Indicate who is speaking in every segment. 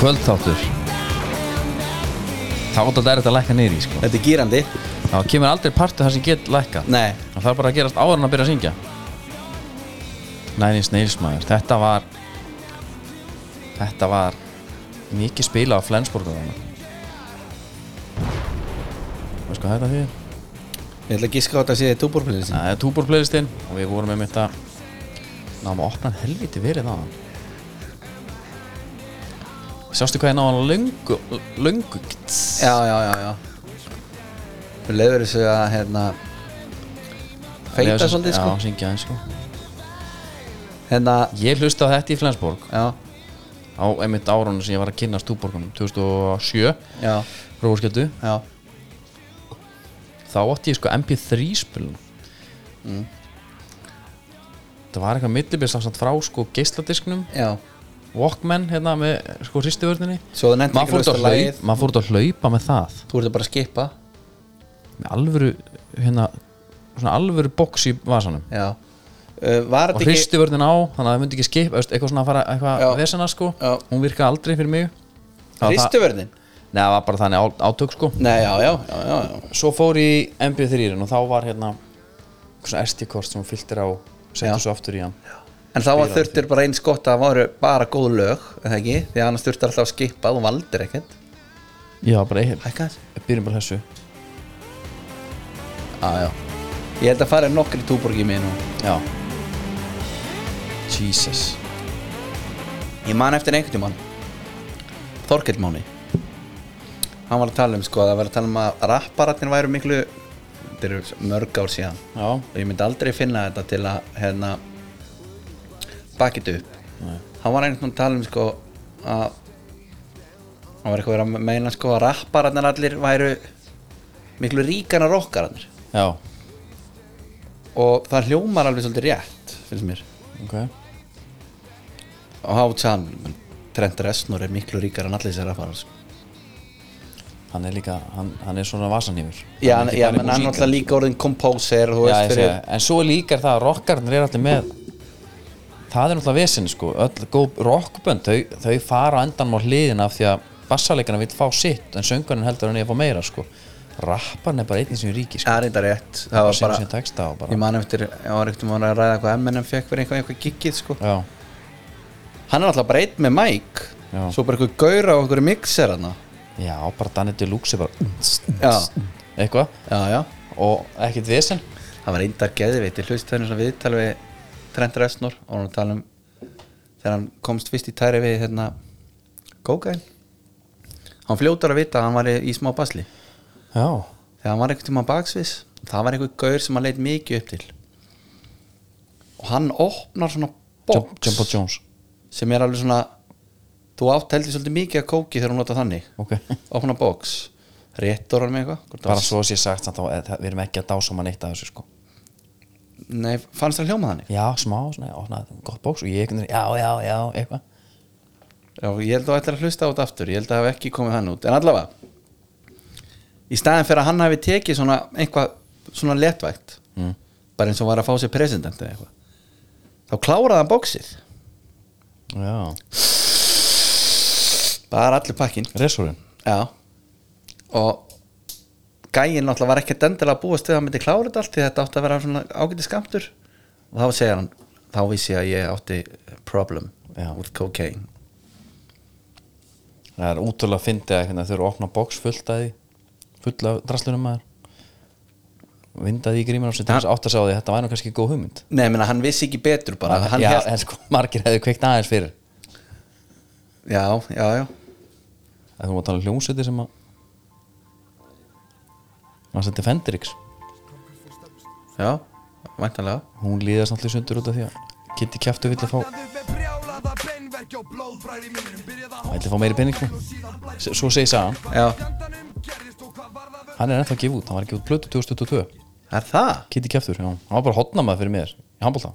Speaker 1: kvöldþáttur þá er þetta erfitt að lækka niður í sko.
Speaker 2: Þetta er gýrandi
Speaker 1: það kemur aldrei partur þar sem get lækka
Speaker 2: Nei,
Speaker 1: það þarf bara að gerast áður en að byrja að syngja Næni Sneilsmaður þetta var þetta var mikið spila á Flensborg veist hvað þetta því
Speaker 2: ég ætla að gíska á þetta að sé túborpleysin
Speaker 1: það er túbor playlistinn og við vorum með mitt að náðum að opna en helviti verið á hann sástu hvað ég náðum að löngu löngu
Speaker 2: Já, já, já, já Við leiður þessu að hérna Feita svolítið sko
Speaker 1: já, syngja eins sko
Speaker 2: Hérna,
Speaker 1: ég hlusta á þetta í Flensborg
Speaker 2: já,
Speaker 1: á einmitt árunum sem ég var að kynna stúborgunum 2007
Speaker 2: já,
Speaker 1: prófarskjöldu
Speaker 2: já
Speaker 1: þá átti ég sko MP3 spilun
Speaker 2: Mm.
Speaker 1: það var eitthvað millibils ásamt frá sko geisladisknum
Speaker 2: Já,
Speaker 1: Walkman hérna með sko hristiðvörninni
Speaker 2: svo þú nefnt
Speaker 1: maður fór út að
Speaker 2: lagið
Speaker 1: hlaup- maður fór út að hlaupa með það
Speaker 2: Þú ert að bara skipa
Speaker 1: með alvöru hérna svona alvöru box í vasanum
Speaker 2: Já uh, Var
Speaker 1: og
Speaker 2: þetta ekki
Speaker 1: hristiðvörnin á þannig að það myndi ekki skip veist, eitthvað svona að fara
Speaker 2: Já.
Speaker 1: eitthvað vesena sko
Speaker 2: Já.
Speaker 1: hún virkaði aldrei fyrir mig Það var það-
Speaker 2: Hristuvörðin?
Speaker 1: Nei, það var bara þannig á- átök sko
Speaker 2: Nei, já, já, já, já, já.
Speaker 1: svo fór ég í MP3 -in og þá var hérna svona SD-kort sem hún fylltir á
Speaker 2: Já.
Speaker 1: settur svo aftur í hann
Speaker 2: En þá var þurftur bara eins gott að það voru bara góð lög, er það ekki? Því að annars þurftur alltaf að skipa, þú valdir ekkert
Speaker 1: já, bara ég
Speaker 2: Hækka þess
Speaker 1: byrjum bara þessu
Speaker 2: Já, já Ég held að fara nokkri túborgi mér nú
Speaker 1: já Jesus
Speaker 2: Ég man eftir einhvern tímann Þorkell Máni Hann var að tala um sko Það var að tala um að rapparatnir væru miklu Þetta eru mörg ár
Speaker 1: já,
Speaker 2: síðan Og ég myndi aldrei finna þetta til að hérna Bakið upp
Speaker 1: Nei.
Speaker 2: Hann var einhvern tímann að tala um sko Að Hann var eitthvað að vera að meina sko Að rapparatnir allir væru Miklu ríkana rokkaratnir
Speaker 1: já,
Speaker 2: Og það hljómar alveg svolítið rétt Finnst mér
Speaker 1: ok
Speaker 2: Og hát sann Trent Reznor er miklu ríkar en allir sér að fara sko.
Speaker 1: hann er líka, hann, hann er svona vasanýfur
Speaker 2: Já, hann, já menn hann er náttúrulega líka orðin kompóser þú
Speaker 1: já, ég
Speaker 2: veist fyrir
Speaker 1: segi, en svo líka er það að rockarnir er alltaf með það er náttúrulega vesinn sko öll góð rockbönd, þau, þau fara á endan á hliðina af því að bassaleikana vil fá sitt en söngunin heldur hann ég að fá meira sko rapparn er bara einn sem ríki sko
Speaker 2: Það er þetta rétt Það var
Speaker 1: sem
Speaker 2: bara,
Speaker 1: sem texta og bara
Speaker 2: ég man eftir ég var eftir að ræða hvað MNM fekk fyrir eitthvað, eitthvað giggið sko
Speaker 1: já,
Speaker 2: Hann er alltaf bara einn með mæk
Speaker 1: Já.
Speaker 2: Svo bara eitthvað gaura og einhverju mixer hana
Speaker 1: já, bara Danny Deluxe er bara
Speaker 2: Já.
Speaker 1: eitthvað
Speaker 2: Já, já
Speaker 1: og ekkert vesinn
Speaker 2: Það var eindar geðveit Ég hlust þenni svona viðtal við Trent Reznor og hann var að tala um þegar hann komst fyrst í tæri við hérna Gógæn Hann fljótar að vita að hann var í, í smá basli
Speaker 1: já,
Speaker 2: þegar hann var einhvern tíma baksvis það var einhver gaur sem hann leit mikið upp til og hann opnar svona
Speaker 1: Jum-
Speaker 2: box
Speaker 1: Jumbo Jones
Speaker 2: sem er alveg svona þú átt heldur svolítið mikið að kóki þegar hún nota þannig
Speaker 1: ok
Speaker 2: opna box, réttur hann með eitthvað Hvort
Speaker 1: bara
Speaker 2: það-
Speaker 1: svo sé sagt samt að það- við erum ekki að dásama neitt að þessu sko
Speaker 2: nei, fannst það hljóma þannig
Speaker 1: já, smá, svona, opnaði gott bóks og ég einhvern veginn, já, já, já, eitthvað
Speaker 2: Já, ég held að ætla að hlusta á þetta aftur ég held að það hef ekki komið hann út, en allavega í staðin fyrir að hann hafi tekið svona eitthvað, svona letvægt
Speaker 1: Mm.
Speaker 2: bara eins og hann var að fá sér president eða eitthvað þá kláraði hann bóksið
Speaker 1: Já,
Speaker 2: bara allir pakkin
Speaker 1: resurinn
Speaker 2: Já og gæinn náttúrulega var ekkert endilega að búast við að hann myndi klára þetta allt því þetta átti að vera svona ágæti skamtur og þá segir hann þá vissi ég að ég átti problem
Speaker 1: Já.
Speaker 2: with cocaine
Speaker 1: Það er útrúlega að fyndi að hérna, þau eru að opna box fullt að því fullt af draslunum maður vinda því í grímur og setja þess átt að segja á því þetta væri nú kannski góð hugmynd
Speaker 2: Nei, ég meina, hann vissi ekki betur bara hann
Speaker 1: já,
Speaker 2: hélt-
Speaker 1: en sko, margir hefðu kveikt aðeins fyrir
Speaker 2: já, já, já
Speaker 1: að þú var að tala um hljómsveitir sem að hann sendi Fendrix
Speaker 2: Já, væntanlega
Speaker 1: hún líðast náttúrulega í sundur út af því að Kitty kæftu vill að fá vill að fá meiri pening sko. S- svo segi Sagan,
Speaker 2: Já,
Speaker 1: hann er ennþá að gefa út hann var ekki út blötu 2022
Speaker 2: er það?
Speaker 1: Kitty kæftur, já, hann var bara hotnamaður fyrir mér í handbólta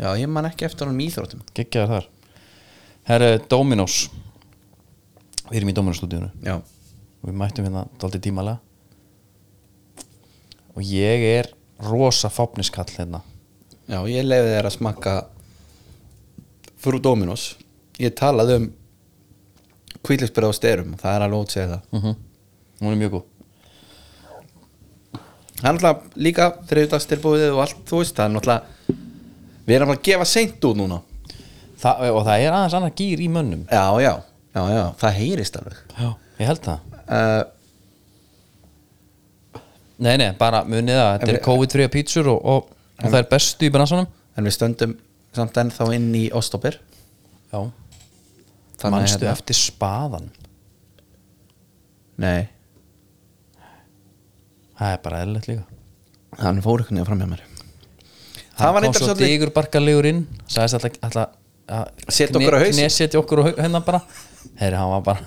Speaker 2: Já, ég man ekki eftir honum í íþróttum
Speaker 1: geggjaðar þar Herre Dominos Við erum í Dominos stúdíunum
Speaker 2: Já,
Speaker 1: Við mættum hérna daldið tímalega Og ég er rosa fápniskall hérna
Speaker 2: já, ég leiði þér að smakka frú Dominos Ég talaði um kvíðlisbyrð á styrum það er alveg ótsegð það
Speaker 1: hún er mjög góð
Speaker 2: það er náttúrulega líka þriðdagstilbúið og allt, þú veist, það er náttúrulega við erum að gefa seint út núna
Speaker 1: Þa, og það er aðeins annar gýr í mönnum
Speaker 2: já, já, já, já, það heyrist alveg
Speaker 1: já. ég held það
Speaker 2: uh,
Speaker 1: nei, nei, bara munið að þetta
Speaker 2: En
Speaker 1: er
Speaker 2: við-
Speaker 1: COVID-3 pítsur og, og, og það er bestu í bransanum
Speaker 2: en við stöndum samt ennþá inn í Ostopir
Speaker 1: já, manstu
Speaker 2: hérna.
Speaker 1: eftir spaðan
Speaker 2: nei,
Speaker 1: það er bara eðlilegt líka
Speaker 2: hann fór ykkur niður fram hjá mér það
Speaker 1: hann
Speaker 2: var
Speaker 1: kom
Speaker 2: eitthvað
Speaker 1: svo
Speaker 2: svolítið
Speaker 1: digur barkalegur inn sagðist alltaf, alltaf
Speaker 2: Setja okkur á hausinn.
Speaker 1: setja okkur á haus- hérna bara herri, hann var bara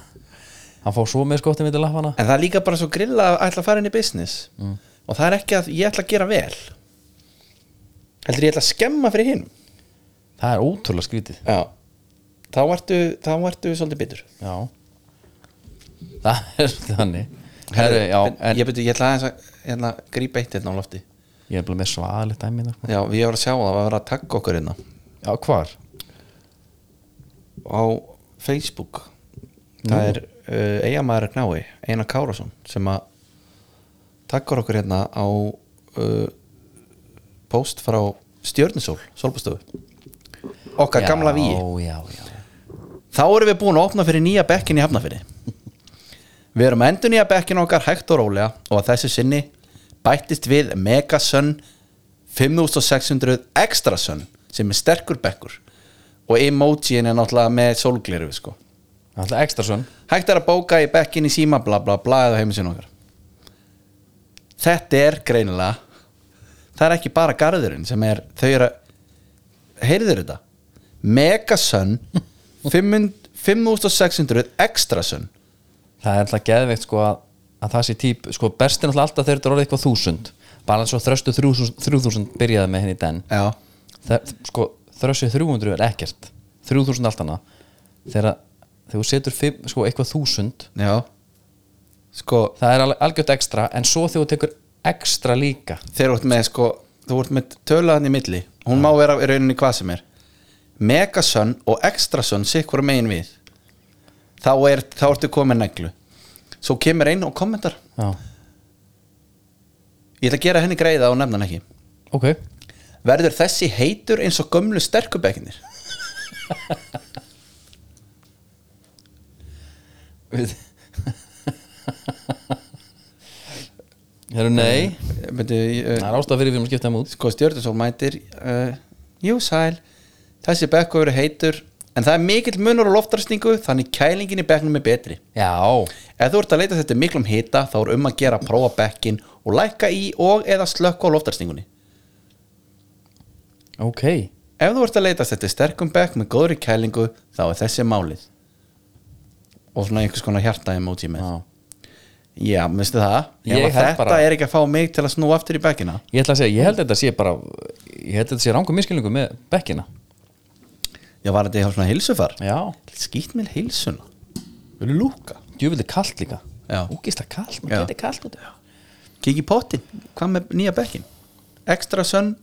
Speaker 1: hann fór svo með skottum í til lappana
Speaker 2: en það er líka bara svo grilla að ætla að fara inn í business og það er ekki að ég ætla að gera vel heldur ég ætla að skemma fyrir hinn
Speaker 1: það er ótrúlega skrítið
Speaker 2: já þá ertu, þá ertu svolítið bitur
Speaker 1: já það er þannig herri, já, en
Speaker 2: ég, byrju, ég ætla aðeins að, ég ætla að grípa eitt hérna á lofti
Speaker 1: ég er bara með svaðalegt dæmi hérna, sko.
Speaker 2: já, við erum að sjá það, við erum að tagga okkur hérna
Speaker 1: já, hvar?
Speaker 2: á Facebook það er uh, eigamæður knái Einar Kárásson sem að takkar okkur hérna á uh, post frá Stjörnisól, Solbastöfu okkar gamla víi
Speaker 1: já, já, já
Speaker 2: þá erum við búin að opna fyrir nýja bekkin í Hafnafyrði við erum að endur nýja bekkin okkar hægt og rólega og að þessu sinni bættist við Megasun 5600 Extra Sun sem er sterkur bekkur og emojín er náttúrulega með sólgleru sko.
Speaker 1: alltaf ekstra svon
Speaker 2: hægt er að bóka í bekkin í síma bla bla bla eða heimisinn okkar þetta er greinilega það er ekki bara garðurinn sem er þau eru að heyrður þetta Megasun 500 5600 extra sun
Speaker 1: það er alltaf geðveikt sko að, að það sé típ sko bestin alltaf alltaf þegar þetta er orðið eitthvað þúsund bara eins og þröstu 3000 3000 byrjaði með henni í den
Speaker 2: já,
Speaker 1: það, sko, þrössið 300 er ekkert 3000 allt hana þegar þegar þú setur fimm, sko, eitthvað þúsund
Speaker 2: já sko
Speaker 1: það er alveg- algjört ekstra en svo þegar þú tekur ekstra líka
Speaker 2: þeir eru með sko þú ert með tölaðan í milli hún má vera í rauninni hvað sem er Megasun og Extra Sun sikkur megin við þá, er, þá ertu komið neglu svo kemur einn og kommentar
Speaker 1: já.
Speaker 2: ég ætla að gera henni greiða og nefna hann ekki
Speaker 1: ok,
Speaker 2: verður þessi heitur eins og gömlu sterkubekkinir
Speaker 1: við Heru, nei,
Speaker 2: Myndu,
Speaker 1: það
Speaker 2: uh,
Speaker 1: er ástæða fyrir við erum að skipta þeim út
Speaker 2: sko stjörðusól mætir uh, jú sæl þessi bekkur er heitur en það er mikill munur á loftarsningu þannig kælingin í bekknum er betri
Speaker 1: Já,
Speaker 2: Ef þú ert að leita þetta miklum hita þá er um að gera að prófa bekkin og lækka í og eða slökka á loftarstingunni.
Speaker 1: ok
Speaker 2: Ef þú ert að leita þetta sterkum bekk með góðri kælingu þá er þessi málið. Og svona einhvers konar hjarta emoji með.
Speaker 1: já.
Speaker 2: Já, minnstu það?
Speaker 1: Ég
Speaker 2: Ef að
Speaker 1: held
Speaker 2: þetta
Speaker 1: bara-
Speaker 2: er ekki að fá mig til að snúa aftur í bekkina.
Speaker 1: Ég ætla að segja, ég held að þetta sé bara ég held að þetta sé rangum miskilningu með bekkina
Speaker 2: Já, var þetta eitthvað svona hilsufar?
Speaker 1: Já,
Speaker 2: Skýt mér hilsuna. Vil lúka?
Speaker 1: djúvildi kalt líka
Speaker 2: Já.
Speaker 1: Úkisla kalt,
Speaker 2: Já.
Speaker 1: maður getur kalt út
Speaker 2: Kiki pottin. Hvað með nýja bekkin? Extra sun,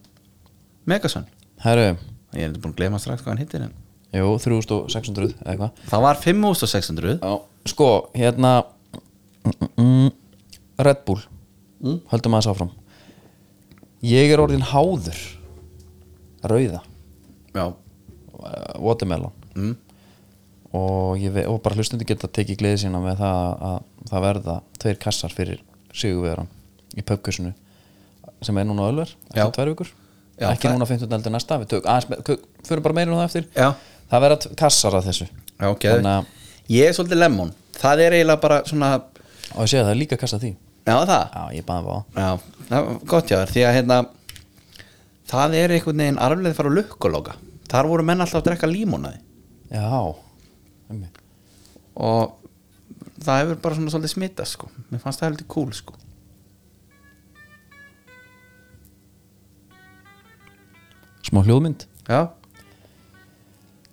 Speaker 2: megasun.
Speaker 1: Herru,
Speaker 2: Ég er þetta búin að glema strax hvað hann hittir en.
Speaker 1: Jú, 3600 eða eitthvað
Speaker 2: Það var 5600.
Speaker 1: Já, Sko, hérna mm, mm, mm, Red Bull
Speaker 2: Mm?
Speaker 1: Höldum aðeins áfram Ég er orðin háður Rauða
Speaker 2: Já,
Speaker 1: uh, Watermelon mm. og, ég, ve- og bara hlustundi geta tekið gleði sína með það að það verða tveir kassar fyrir Sigurvegaran í pöpkusinu sem er núna öllver,
Speaker 2: Já.
Speaker 1: eftir tvær vikur
Speaker 2: Já,
Speaker 1: ekki
Speaker 2: það-
Speaker 1: núna 15. heldur næsta við tök, aðeins, með- kö- förum bara meira um það eftir
Speaker 2: Já.
Speaker 1: það verða t- kassar af þessu
Speaker 2: Já, ok
Speaker 1: Þannig að-
Speaker 2: Ég er svolítið lemon Það er eiginlega bara svona
Speaker 1: og ég segja það er líka kassa af því
Speaker 2: Já, það
Speaker 1: já, ég baði bara
Speaker 2: Já, það var gott hjá þér Því að hérna Það er einhvern veginn arfleðið fara á lukkuloka Þar voru menn alltaf að drekka límónaði
Speaker 1: já, einmitt.
Speaker 2: Og það hefur bara svona svolítið smita sko Mér fannst það heldur cool sko
Speaker 1: smá hljóðmynd
Speaker 2: Já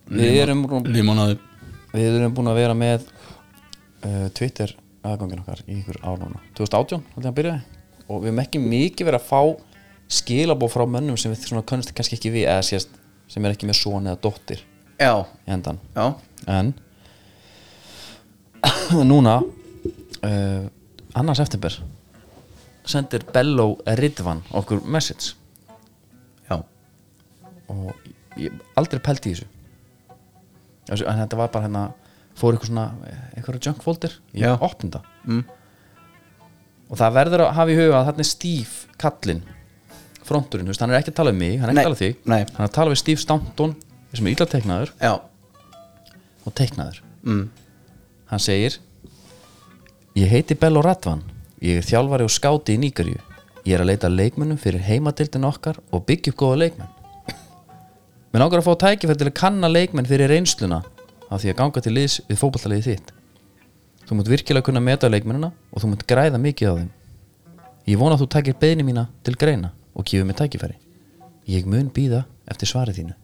Speaker 1: við erum, rú-
Speaker 2: Límónaði
Speaker 1: við erum búin að vera með uh, Twitter aðgangin okkar í ykkur ár núna 2018, haldið að byrjaði og við höfum ekki mikið verið að fá skilabóð frá mönnum sem við svona kannast kannski ekki við eða sést, sem er ekki með son eða dóttir
Speaker 2: Já,
Speaker 1: í endan
Speaker 2: já
Speaker 1: en núna uh, annars eftirber sendir Bello Ridvan okkur message
Speaker 2: já,
Speaker 1: og ég aldrei pælti í þessu þessu, en þetta var bara hérna fór eitthvað svona, eitthvað junk folder ég
Speaker 2: Já. Mm.
Speaker 1: opnum það og það verður að hafa í huga að þarna er Steve Kallin fronturinn, þú veist, hann er ekki að tala um mig hann er
Speaker 2: Nei,
Speaker 1: ekki að tala um þig,
Speaker 2: nei.
Speaker 1: hann er að tala við Steve Staunton sem er illa teiknaður
Speaker 2: já
Speaker 1: og teiknaður
Speaker 2: mm.
Speaker 1: hann segir ég heiti Bello Radvan ég er þjálfari og skáti í Níkaríu ég er að leita að leikmönnum fyrir heimadildin okkar og byggja upp góða leikmenn menn ákveður að fá tækifæð til að kanna leikmenn fyrir reynsluna af því að ganga til liðs við fótballtaliði þitt þú mútt virkilega kunna meta leikmennina og þú mútt græða mikið á þeim ég vona að þú takir beðni mína til greina og gefur mér tækifæri ég mun býða eftir svarið þínu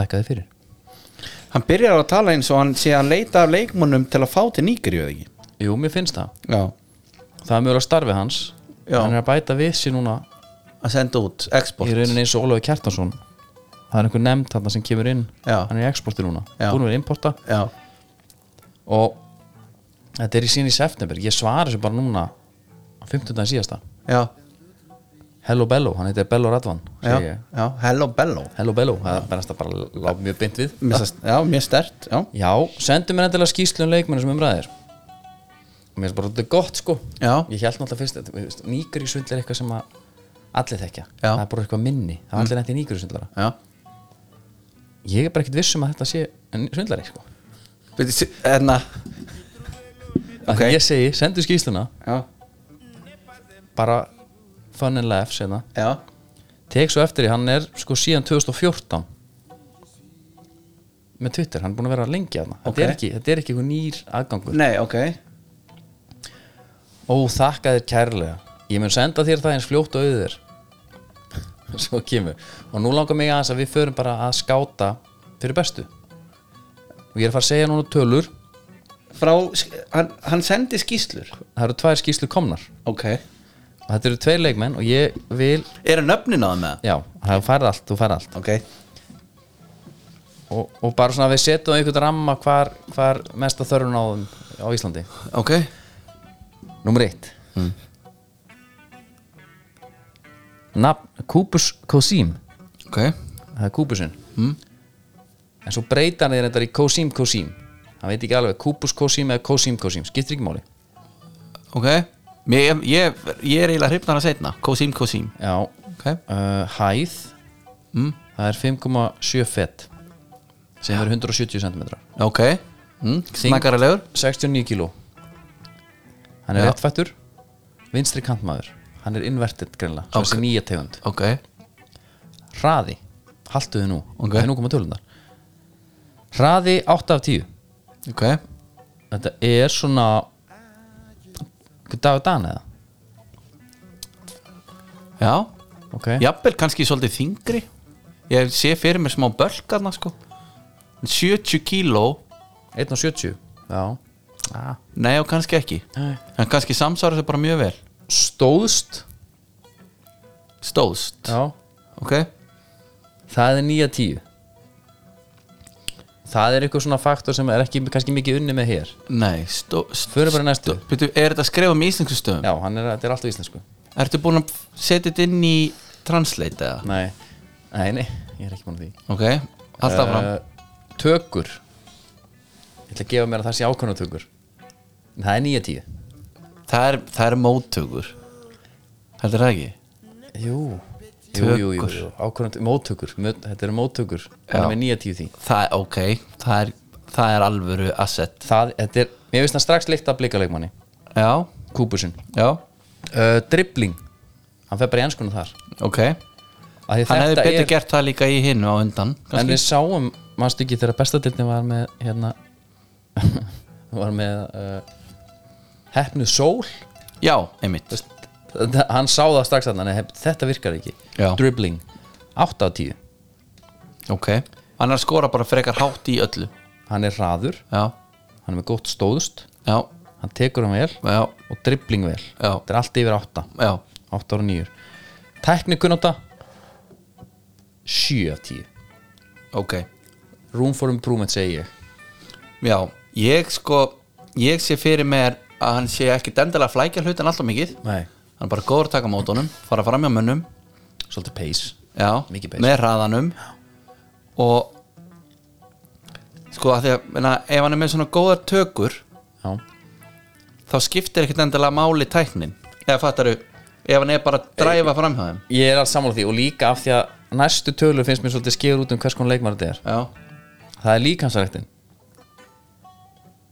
Speaker 1: þakka þið fyrir
Speaker 2: hann byrjar að tala eins og hann sé að leita af leikmönnum til að fá til nýgri eða ekki
Speaker 1: jú, mér finnst það
Speaker 2: já,
Speaker 1: það er mjögulega starfið hans
Speaker 2: Já.
Speaker 1: hann er að bæta við sér núna
Speaker 2: að senda út,
Speaker 1: í
Speaker 2: export
Speaker 1: rauninni eins og Ólafur Kjartansson það er einhver nefnd þarna sem kemur inn
Speaker 2: Já.
Speaker 1: hann er í exporti núna,
Speaker 2: Já.
Speaker 1: búin að vera að importa
Speaker 2: já,
Speaker 1: og þetta er í sín í september ég svara þessu bara núna á 15. síðasta
Speaker 2: já,
Speaker 1: Hello Bello, hann heitir Bello Radvan
Speaker 2: já,
Speaker 1: segi ég.
Speaker 2: já hello bello
Speaker 1: Hello Bello, það bennast að bara láta mjög beint við
Speaker 2: Mér sast- já, mjög stert, já
Speaker 1: já, sendu mér endilega skýslu um leikmennu sem umræðir mér finnst bara þetta er gott sko
Speaker 2: já,
Speaker 1: ég held náttúrulega fyrst að nýgurísvindl er eitthvað sem að allir þekkja,
Speaker 2: Já. Mm.
Speaker 1: það er bara eitthvað minni það er allir nætti nýgurísvindlara
Speaker 2: já
Speaker 1: ég er bara ekkert viss um að þetta sé en svindlari sko
Speaker 2: Bíddu, s- hérna,
Speaker 1: okay. ég segi, sendu skýsluna
Speaker 2: já,
Speaker 1: bara fun and laughs hérna.
Speaker 2: já,
Speaker 1: tek svo eftir því, hann er sko síðan 2014 með Twitter, hann er búin að vera lengi hérna.
Speaker 2: Ok.
Speaker 1: þetta er ekki, þetta er ekki eitthvað nýr aðgangur
Speaker 2: nei, ok
Speaker 1: ó, þakka þér kærlega ég mun senda þér það eins fljótt og auður svo kemur og nú langar mig aðeins að við förum bara að skáta fyrir bestu og ég er að fara að segja núna tölur
Speaker 2: frá, hann, hann sendi skýslur
Speaker 1: það eru tvær skýslu komnar
Speaker 2: ok,
Speaker 1: og þetta eru tveir leikmenn og ég vil
Speaker 2: eru nöfnin á það með það?
Speaker 1: Já, það færði allt, þú færði allt
Speaker 2: ok,
Speaker 1: og, og bara svona að við setjum einhvern ramma hvar, hvar mesta þörfun á, þeim á Íslandi
Speaker 2: ok
Speaker 1: Númer eitt Nafn Kúpus Kósím
Speaker 2: ok,
Speaker 1: Það er Kúpusinn mm. En svo breyta hann þér þetta í Kósím Kósím Hann veit ekki alveg Kúpus Kósím eða Kósím Kósím Skiptir ekki máli
Speaker 2: ok ég, ég, ég er eiginlega hrifnar að setna kósím, kósím
Speaker 1: Já,
Speaker 2: ok,
Speaker 1: uh, hæð
Speaker 2: mm.
Speaker 1: Það er 5,7 fett sem er 170 cm
Speaker 2: ok mm. snakaralegur
Speaker 1: 69 kíló hann er
Speaker 2: Já.
Speaker 1: réttfættur vinstri kantmaður, hann er inverted greinlega, svo
Speaker 2: Ok.
Speaker 1: þessi nýja tegund
Speaker 2: ok,
Speaker 1: hraði, haltu þið nú
Speaker 2: Ok.
Speaker 1: það er nú koma tölundar hraði 8 af 10
Speaker 2: ok
Speaker 1: þetta er svona dag og dan eða
Speaker 2: já,
Speaker 1: ok,
Speaker 2: jafnvel kannski svolítið þingri ég sé fyrir mér smá bölkarna sko 70 kíló
Speaker 1: 1 og 70 já ah.
Speaker 2: nei og kannski ekki en kannski samsvara þessu bara mjög vel
Speaker 1: stóðst
Speaker 2: stóðst,
Speaker 1: já.
Speaker 2: ok
Speaker 1: það er nýja 10 það er eitthvað svona faktor sem er ekki kannski mikið unni með hér
Speaker 2: nei, stó, stó,
Speaker 1: fyrir bara í næstu,
Speaker 2: Býtu, er þetta að skrifa með íslensku stöðum?
Speaker 1: já, hann er, þetta er alltaf íslensku
Speaker 2: Ertu búin að setja þetta inn í Translate eða?
Speaker 1: Nei, nei, nei, ég er ekki búin að því
Speaker 2: Ok, alltaf fram
Speaker 1: Eh, Tökur Ég ætla að gefa mér að það sé ákveðna tökur En það er nýja tíu
Speaker 2: það er, það er móttökur Heldur það ekki?
Speaker 1: Jú, jú, jú, jú, jú. ákveðna móttökur Mö- Þetta eru móttökur, hann er með nýja tíu því
Speaker 2: Það er, ok, það er, það er alvöru asset
Speaker 1: Það, þetta er, mér finnst það strax líkt að blikalegmanni
Speaker 2: Já,
Speaker 1: Kúpusinn
Speaker 2: já,
Speaker 1: uh, Dribbling, hann fer bara í enskuna þar
Speaker 2: ok Hann hefði betur gert það líka í hinu á undan
Speaker 1: En
Speaker 2: kannski.
Speaker 1: við sáum, manstu ekki þegar bestadildin var með hérna var með uh, hefnuð sól
Speaker 2: Já, einmitt
Speaker 1: Þú veist, þetta- hann sá það strax að hann þetta virkar ekki,
Speaker 2: Já.
Speaker 1: dribbling 8 af 10,
Speaker 2: Ok, hann er að skora bara frekar hátt í öllu
Speaker 1: hann er hraður
Speaker 2: Já,
Speaker 1: hann er með gott stóðust,
Speaker 2: já,
Speaker 1: hann tekur hann vel
Speaker 2: já,
Speaker 1: og dribbling vel,
Speaker 2: Já.
Speaker 1: þetta er allt yfir 8
Speaker 2: já
Speaker 1: 8 ára 9 teknikunnóta 7 af 10
Speaker 2: Ok,
Speaker 1: room for improvement segi ég
Speaker 2: Já, ég sko ég sé fyrir mér að hann sé ekki dendilega að flækja hlutin alltaf mikið
Speaker 1: Nei.
Speaker 2: hann er bara góður að taka á mótunum fara fram hjá mönnum
Speaker 1: svolítið peis
Speaker 2: já,
Speaker 1: Mikið pace.
Speaker 2: með hraðanum og sko að því að meina, ef hann er með svona góðar tökur
Speaker 1: já,
Speaker 2: þá skiptir ekkert endilega máli tæknin eða fattaru, ef hann er bara að dræfa fram hjá þeim
Speaker 1: ég er alls sammála því og líka af því að næstu tölur finnst mér svolítið skýr út um hvers konar leikmar þetta er
Speaker 2: já,
Speaker 1: það er líkansræktin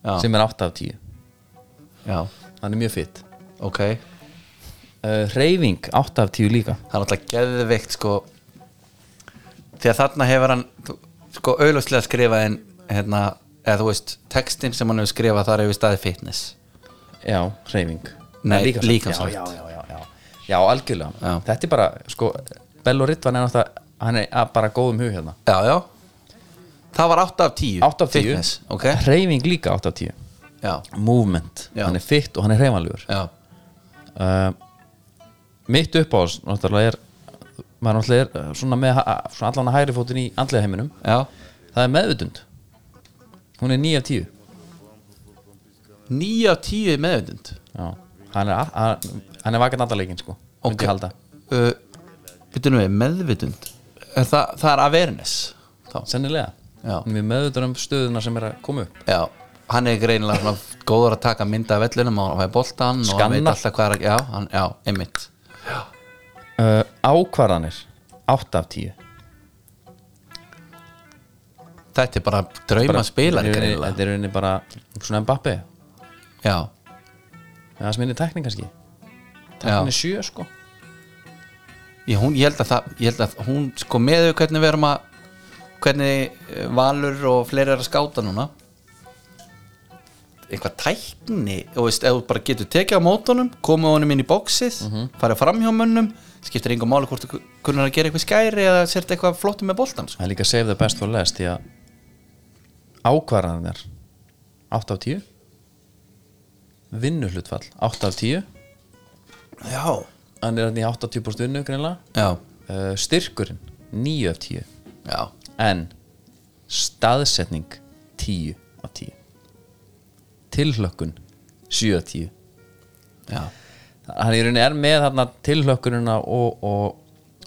Speaker 2: já,
Speaker 1: sem er 8 af 10
Speaker 2: já,
Speaker 1: hann er mjög fyrt
Speaker 2: ok það
Speaker 1: uh, reyfing 8 af 10 líka
Speaker 2: er alltaf geðveikt sko því að þarna hefur hann þú- sko auðlöfslega skrifað en hérna, eða þú veist, textin sem hann hefur skrifað þar hefur staðið fitness
Speaker 1: já, reyfing
Speaker 2: Nei,
Speaker 1: líkamsrækt.
Speaker 2: líkamsrækt.
Speaker 1: já, já, já, já, já. já, algjörlega
Speaker 2: Já.
Speaker 1: þetta er bara, sko, Bell og Ritvan er náttúrulega hann er að bara góðum hug hérna
Speaker 2: já, já það var 8 af 10
Speaker 1: 8 af 10,
Speaker 2: fitness, ok,
Speaker 1: reyfing líka 8 af 10
Speaker 2: já,
Speaker 1: movement,
Speaker 2: Já.
Speaker 1: hann er fyrt og hann er reyfanlegur
Speaker 2: já
Speaker 1: uh, mitt uppáhals náttúrulega er maður náttúrulega er uh, svona með ha- svona allan að hægri fótinn í andlega heiminum
Speaker 2: já,
Speaker 1: það er meðvutund hún er 9 af 10
Speaker 2: 9 af 10 er meðvindund
Speaker 1: já. hann er, a- hann, hann er vakant andalegin sko myndi ég halda.
Speaker 2: uh, Vittu nú við, meðvitund er það, það er awareness þá.
Speaker 1: sennilega
Speaker 2: Já.
Speaker 1: Hún er meðvutund um stöðuna sem er að koma upp
Speaker 2: Já, hann er greinilega svona góður að taka mynda af vellinum og hann fæði boltan og hann
Speaker 1: Skanna.
Speaker 2: veit alltaf hvað er að Já, hann, já, einmitt
Speaker 1: uh, ákvarðanir 8 af 10
Speaker 2: Þetta er bara drauma spilar
Speaker 1: Þetta er í rauninni-
Speaker 2: greinilega
Speaker 1: þetta er í rauninni bara svona Mbappi
Speaker 2: Já,
Speaker 1: það sem minni tækning kannski
Speaker 2: já
Speaker 1: hann er 7 sko
Speaker 2: ég, hún, ég, held að það, ég held að hún sko meðu hvernig við erum að hvernig eh, Valur og fleiri er að skáta núna eitthvað tækni þú veist, ef þú bara getur tekið á mótunum komið honum inn í bóksið, mm -hmm. farið fram hjá mönnum skiptir engum máli hvort þú kunnar að gera eitthvað skæri eða sért eitthvað flottum með boltan sko.
Speaker 1: það er líka save the best for last því að ákvarðanir 8 af 10 vinnuhlutfall 8 af 10
Speaker 2: já,
Speaker 1: hann er hann í 80% vinnu greinlega
Speaker 2: já,
Speaker 1: uh, styrkurinn 9 af 10
Speaker 2: já
Speaker 1: en staðsetning 10 af 10 tilhlökkun 7 af 10
Speaker 2: já,
Speaker 1: hann í rauninni er með þarna tilhlökkunina og, og,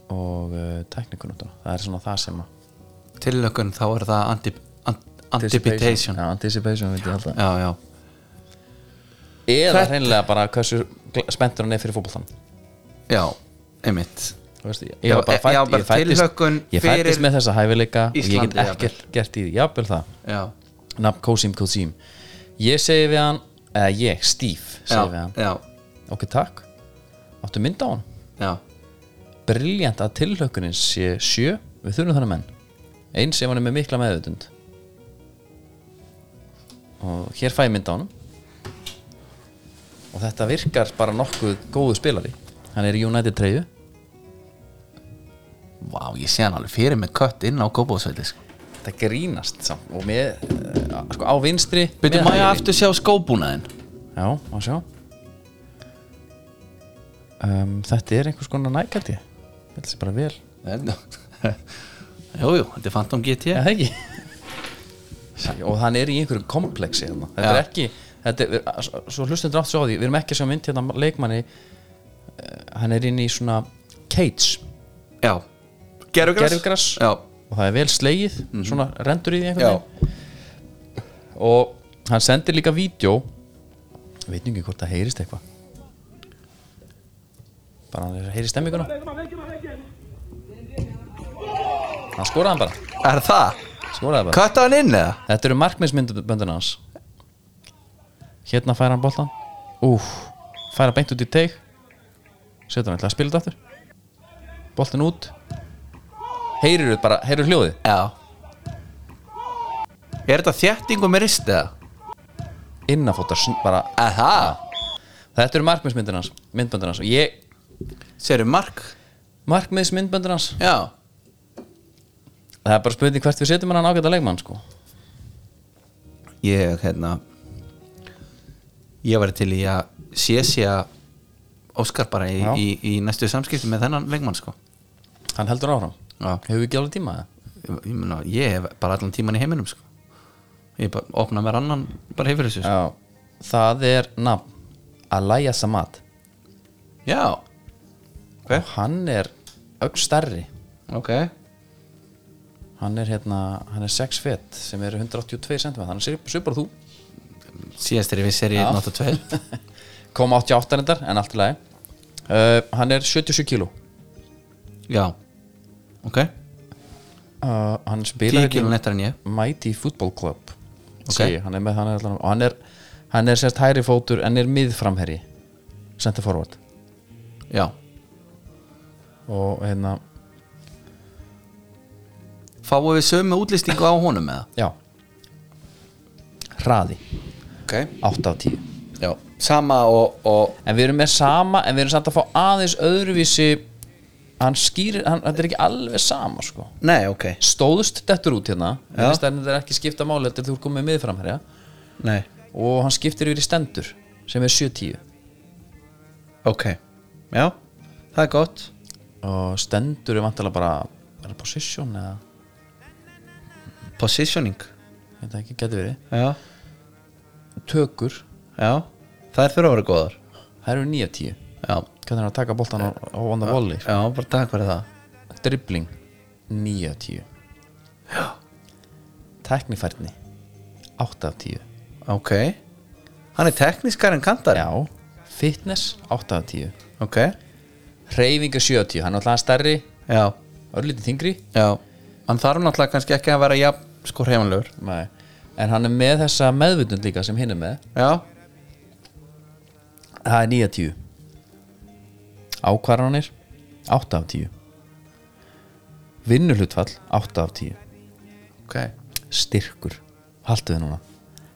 Speaker 1: og uh, teknikunutuna það er svona það sem að
Speaker 2: tilökun þá er það anti, an, antipitation
Speaker 1: já, anticipation veit ég alltaf
Speaker 2: já, já,
Speaker 1: eða
Speaker 2: Þetta-
Speaker 1: hreinlega bara hversu gl- spenntur hann er fyrir fótboltan
Speaker 2: já, einmitt
Speaker 1: Þú veist, ég, ég var bara,
Speaker 2: Já, e-
Speaker 1: fætt,
Speaker 2: já, bara
Speaker 1: ég fættist,
Speaker 2: tilhlökkun
Speaker 1: ég fættist
Speaker 2: fyrir
Speaker 1: með þessa hæfileika og ég
Speaker 2: Íslandi,
Speaker 1: get ekkert gert í því, jafnvel það
Speaker 2: já,
Speaker 1: nafn Kosim Kosim ég segi við hann, eða ég, Steve
Speaker 2: já,
Speaker 1: segi við hann,
Speaker 2: já,
Speaker 1: ok takk áttu mynd á hann,
Speaker 2: já,
Speaker 1: briljant að tilhlökkunin sé sjö, við þurfum þannig menn eins ef hann er með mikla meðutund og hér fæ ég mynd á hann og þetta virkar bara nokkuð góðu spilari hann er í United 3
Speaker 2: Vá, ég sé hann alveg fyrir með kött inn á góbóðsveldi sko.
Speaker 1: það grínast samt og með, uh, sko, á vinstri
Speaker 2: Byrju,
Speaker 1: með
Speaker 2: má ég
Speaker 1: hægri.
Speaker 2: aftur sjá skóbúnaðin?
Speaker 1: já, má sjá um, þetta er einhvers konar nækaldi þetta er bara vel já,
Speaker 2: Jú, jú, þetta er Phantom GT
Speaker 1: það ekki og hann er í einhverju kompleksi hérna. þetta
Speaker 2: Já.
Speaker 1: er ekki þetta er, s- svo hlustum drátt svo á því, við erum ekki að sjá mynd hérna leikmanni eh, hann er inn í svona cage
Speaker 2: Já, gerugras
Speaker 1: Gervigras.
Speaker 2: Já,
Speaker 1: og það er vel slegið, svona rendur í því einhvern
Speaker 2: Mhm. já,
Speaker 1: veginn og hann sendir líka vídjó veit nú ekki hvort það heyrist eitthvað bara hann er að heyri stemminguna hann skoraði hann bara
Speaker 2: er það?
Speaker 1: skoraði bara
Speaker 2: Kötta hann inn eða?
Speaker 1: þetta eru markmiðsmyndböndun hans hérna fær hann boltan úf, fær hann beint út í teig setur hann ætla að spila þetta aftur boltin út heyrir bara, heyrir hljóðið
Speaker 2: Já Er þetta þjættingu með rist eða?
Speaker 1: innafótar, sn- bara
Speaker 2: Aha,
Speaker 1: þetta eru markmiðsmyndböndun hans myndböndun hans og ég
Speaker 2: sérðu mark?
Speaker 1: markmiðsmyndböndur hans
Speaker 2: Já,
Speaker 1: það er bara spurning hvert við setjum hann ágæta leikmann sko.
Speaker 2: ég hérna ég var til í að sé sé að Óskar bara í,
Speaker 1: Já.
Speaker 2: í, í næstu samskipti með þennan leikmann sko
Speaker 1: hann heldur áfram
Speaker 2: Já.
Speaker 1: hefur við ekki alveg tíma það
Speaker 2: ég, ég, meina, ég hef bara allan tíman í heiminum sko. ég bara opna mér annan bara hefur þessu sko.
Speaker 1: já. það er nafn Alaya Samad
Speaker 2: Já,
Speaker 1: og hann er ögn stærri
Speaker 2: ok
Speaker 1: hann er hérna, hann er 6 fet sem er 182 cm, hann er svipar þú
Speaker 2: Síðast er ég vissir í 182
Speaker 1: kom 88 reyndar, en allt í lagi uh, hann er 77 kíló
Speaker 2: Já, ok
Speaker 1: uh, hann
Speaker 2: 10
Speaker 1: spilar
Speaker 2: kílum
Speaker 1: hérna í
Speaker 2: nettar en ég
Speaker 1: Mighty Football Club
Speaker 2: Ok.
Speaker 1: okay. hann er með, hann er allan og hann er, hann er sérst hæri fótur en er miðframherji center forward
Speaker 2: Já,
Speaker 1: og hérna,
Speaker 2: fáum við sömu útlistingu á honum eða?
Speaker 1: já hraði,
Speaker 2: Ok
Speaker 1: 8 af 10
Speaker 2: Já, sama og, og
Speaker 1: en við erum með sama, en við erum samt að fá aðeins öðruvísi hann skýrir, hann, þetta er ekki alveg sama sko
Speaker 2: Nei, ok
Speaker 1: stóðust dettur út hérna
Speaker 2: Já.
Speaker 1: þetta er ekki skipta máli heldur þú er komið miðframherja
Speaker 2: Nei
Speaker 1: og hann skiptir yfir í stendur sem er 7-10
Speaker 2: Ok, já, það er gott
Speaker 1: og stendur er vantilega bara er það position eða,
Speaker 2: Positioning
Speaker 1: þetta ekki getur verið
Speaker 2: Já,
Speaker 1: tökur,
Speaker 2: já Það er fyrir að vera góðar
Speaker 1: það eru 9-10
Speaker 2: Já,
Speaker 1: hvernig er að taka boltan á, á on the volley
Speaker 2: já, bara takk fyrir það
Speaker 1: dribbling 9-10 teknifærni 8-10
Speaker 2: Ok Hann er teknískar en kantar
Speaker 1: já, fitness 8-10
Speaker 2: Ok,
Speaker 1: hreyfinga 7-10, hann er alltaf stærri
Speaker 2: já,
Speaker 1: örlítið þingri
Speaker 2: já Hann þarf náttúrulega kannski ekki að vera jafn sko hreifanlegur
Speaker 1: Nei. en hann er með þessa meðvutund líka sem hinn er með
Speaker 2: Já,
Speaker 1: það er 9 af 10 ákvarðanir 8 af 10 vinnuhlutfall 8 af 10
Speaker 2: ok
Speaker 1: styrkur, haltu þið núna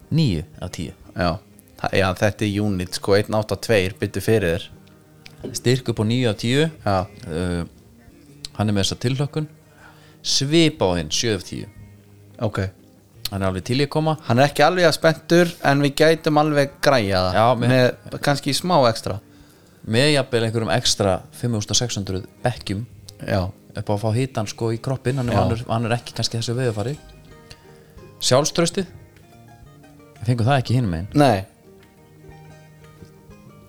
Speaker 1: 9 af 10
Speaker 2: Já, Þa- já þetta er unit sko 182 byttu fyrir þér
Speaker 1: styrk upp á 9 af 10
Speaker 2: Já,
Speaker 1: uh, hann er með þessa tilhlökkun svip á hinn 7 af 10
Speaker 2: ok
Speaker 1: hann er alveg til í að koma
Speaker 2: Hann er ekki alveg að spenntur en við gætum alveg græja það
Speaker 1: Já, mér-
Speaker 2: með kannski smá ekstra
Speaker 1: með jafnvel einhverjum ekstra 5600 bekkjum
Speaker 2: Já,
Speaker 1: upp á að fá hitan sko í kroppin hann, er-
Speaker 2: Já.
Speaker 1: hann, er, hann er ekki kannski þessu veðufari sjálfströstið við fengum það ekki hinn megin
Speaker 2: nei,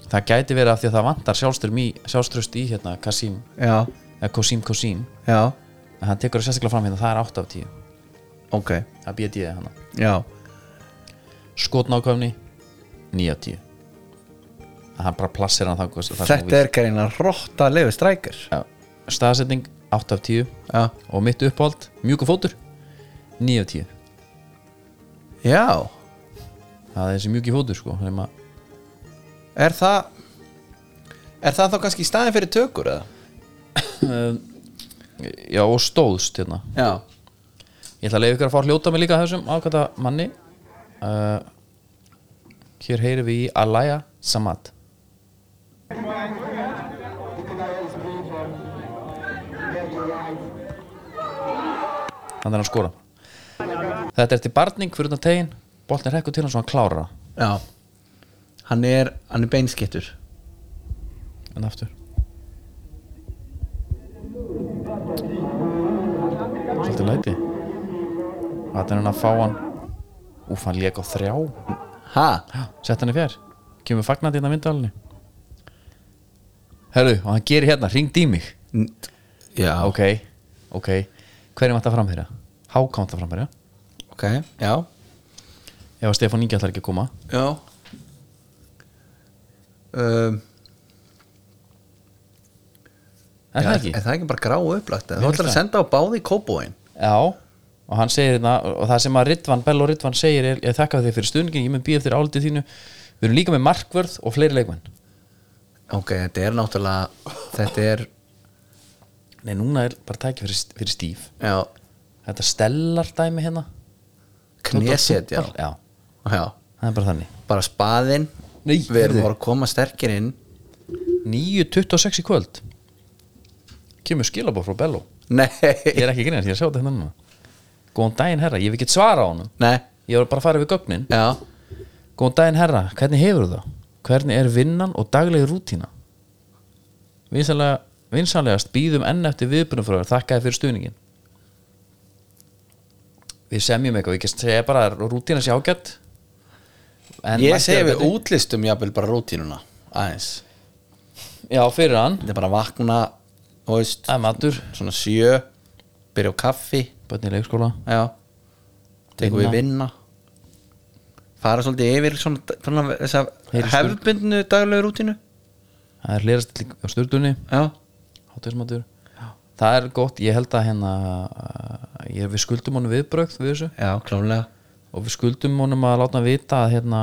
Speaker 1: það gæti verið af því að það vantar sjálfström í, sjálfströst í hérna Kasim,
Speaker 2: já,
Speaker 1: eða Kosim Kosim
Speaker 2: já
Speaker 1: en hann tekur það sérstaklega fram hérna, það er 8 af 10
Speaker 2: Ok,
Speaker 1: það er BD hana
Speaker 2: já,
Speaker 1: skotnákvæmni 9 af 10 En hann bara plassir hann það, það
Speaker 2: þetta er gæna rotta leifu strækir
Speaker 1: ja, staðsetning 8 af 10
Speaker 2: Já,
Speaker 1: og mitt uppáhald, mjúku fótur 9 af 10
Speaker 2: já,
Speaker 1: það er þessi mjúki fótur sko sem að-
Speaker 2: er það Er það þá kannski staðin fyrir tökur eða?
Speaker 1: já og stóðst hérna
Speaker 2: Já,
Speaker 1: Ég ætla að leiða ykkur að fá að hljóta mig líka af þessum ákvæmta manni uh, Hér heyrum við í Alaya Samad Þannig er hann að skora Þetta er til barning fyrir utan tegin Boltin rekkur til hann svo hann klára
Speaker 2: já Hann er, hann er beinskittur
Speaker 1: En aftur Svolítið læti Þetta er hann að fá hann Úf, hann lék á þrjá
Speaker 2: Ha?
Speaker 1: Sett hann í fjær Kemur fagnandi hérna myndalni Herru, og hann gerir hérna, ringd í mig
Speaker 2: N- Já,
Speaker 1: Ok, ok Hverjum ætti að framherja? Hákám ætti að framherja
Speaker 2: ok, já
Speaker 1: Ef að Stefán Ingi ætlar ekki að koma
Speaker 2: Já um,
Speaker 1: Er
Speaker 2: já,
Speaker 1: það ekki?
Speaker 2: Er það ekki bara gráu upplagt eða?
Speaker 1: Mér finnst
Speaker 2: Þú ætlar að
Speaker 1: það.
Speaker 2: senda á báði kóbóin
Speaker 1: Já Og hann segir hérna Og það sem að Ritvan, Bello Ritvan segir er, Ég þakka þig fyrir stundin Ég mun býja eftir álitið þínu Við erum líka með markvörð og fleiri leikmenn
Speaker 2: Ok, þetta er náttúrulega Þetta er,
Speaker 1: Nei, núna er bara tæki fyrir, fyrir stíf
Speaker 2: já,
Speaker 1: Þetta stellar dæmi hérna
Speaker 2: knéset já.
Speaker 1: Já,
Speaker 2: já
Speaker 1: það er bara þannig
Speaker 2: Bara spaðinn
Speaker 1: Nei,
Speaker 2: Við erum
Speaker 1: heyrðu.
Speaker 2: bara að koma sterkir inn
Speaker 1: 9.26 í kvöld Kemur skilabóð frá Bello
Speaker 2: Nei,
Speaker 1: ég er ekki að grínast, ég er að sjá þetta hérna núna góðan daginn herra, ég hef ekki svara á honum
Speaker 2: nei,
Speaker 1: ég var bara að fara yfir gögnin
Speaker 2: já
Speaker 1: góðan daginn herra, hvernig hefur það? hvernig er vinnan og daglegi rútína? vinsanlega vinsanlegast býðum enn eftir viðbunum frá þér þakkaði fyrir stuðningin við semjum eitthvað, ég gæst segja bara að rútína sé ágætt En
Speaker 2: ég
Speaker 1: mætti
Speaker 2: segi
Speaker 1: að
Speaker 2: við
Speaker 1: gæti-
Speaker 2: útlistum jafnvel bara rútínuna aðeins
Speaker 1: Já, fyrir hann
Speaker 2: þetta er bara að vakna þú veist,
Speaker 1: Það er matur,
Speaker 2: svona sjö byrja á kaffi
Speaker 1: bönni í leikskóla
Speaker 2: já tekum
Speaker 1: Vinna.
Speaker 2: við vinna fara svolítið yfir svona, svona þessa
Speaker 1: Heyri stjórn.
Speaker 2: hefðbundnu daglegu rútínu
Speaker 1: Það er hlýrast á stjórnunni
Speaker 2: já,
Speaker 1: Hátíðismatur Það er gott, ég held að hérna uh, ég, Við skuldum honum viðbrögð við þessu
Speaker 2: já, klálega
Speaker 1: Og við skuldum honum að láta hann vita að hérna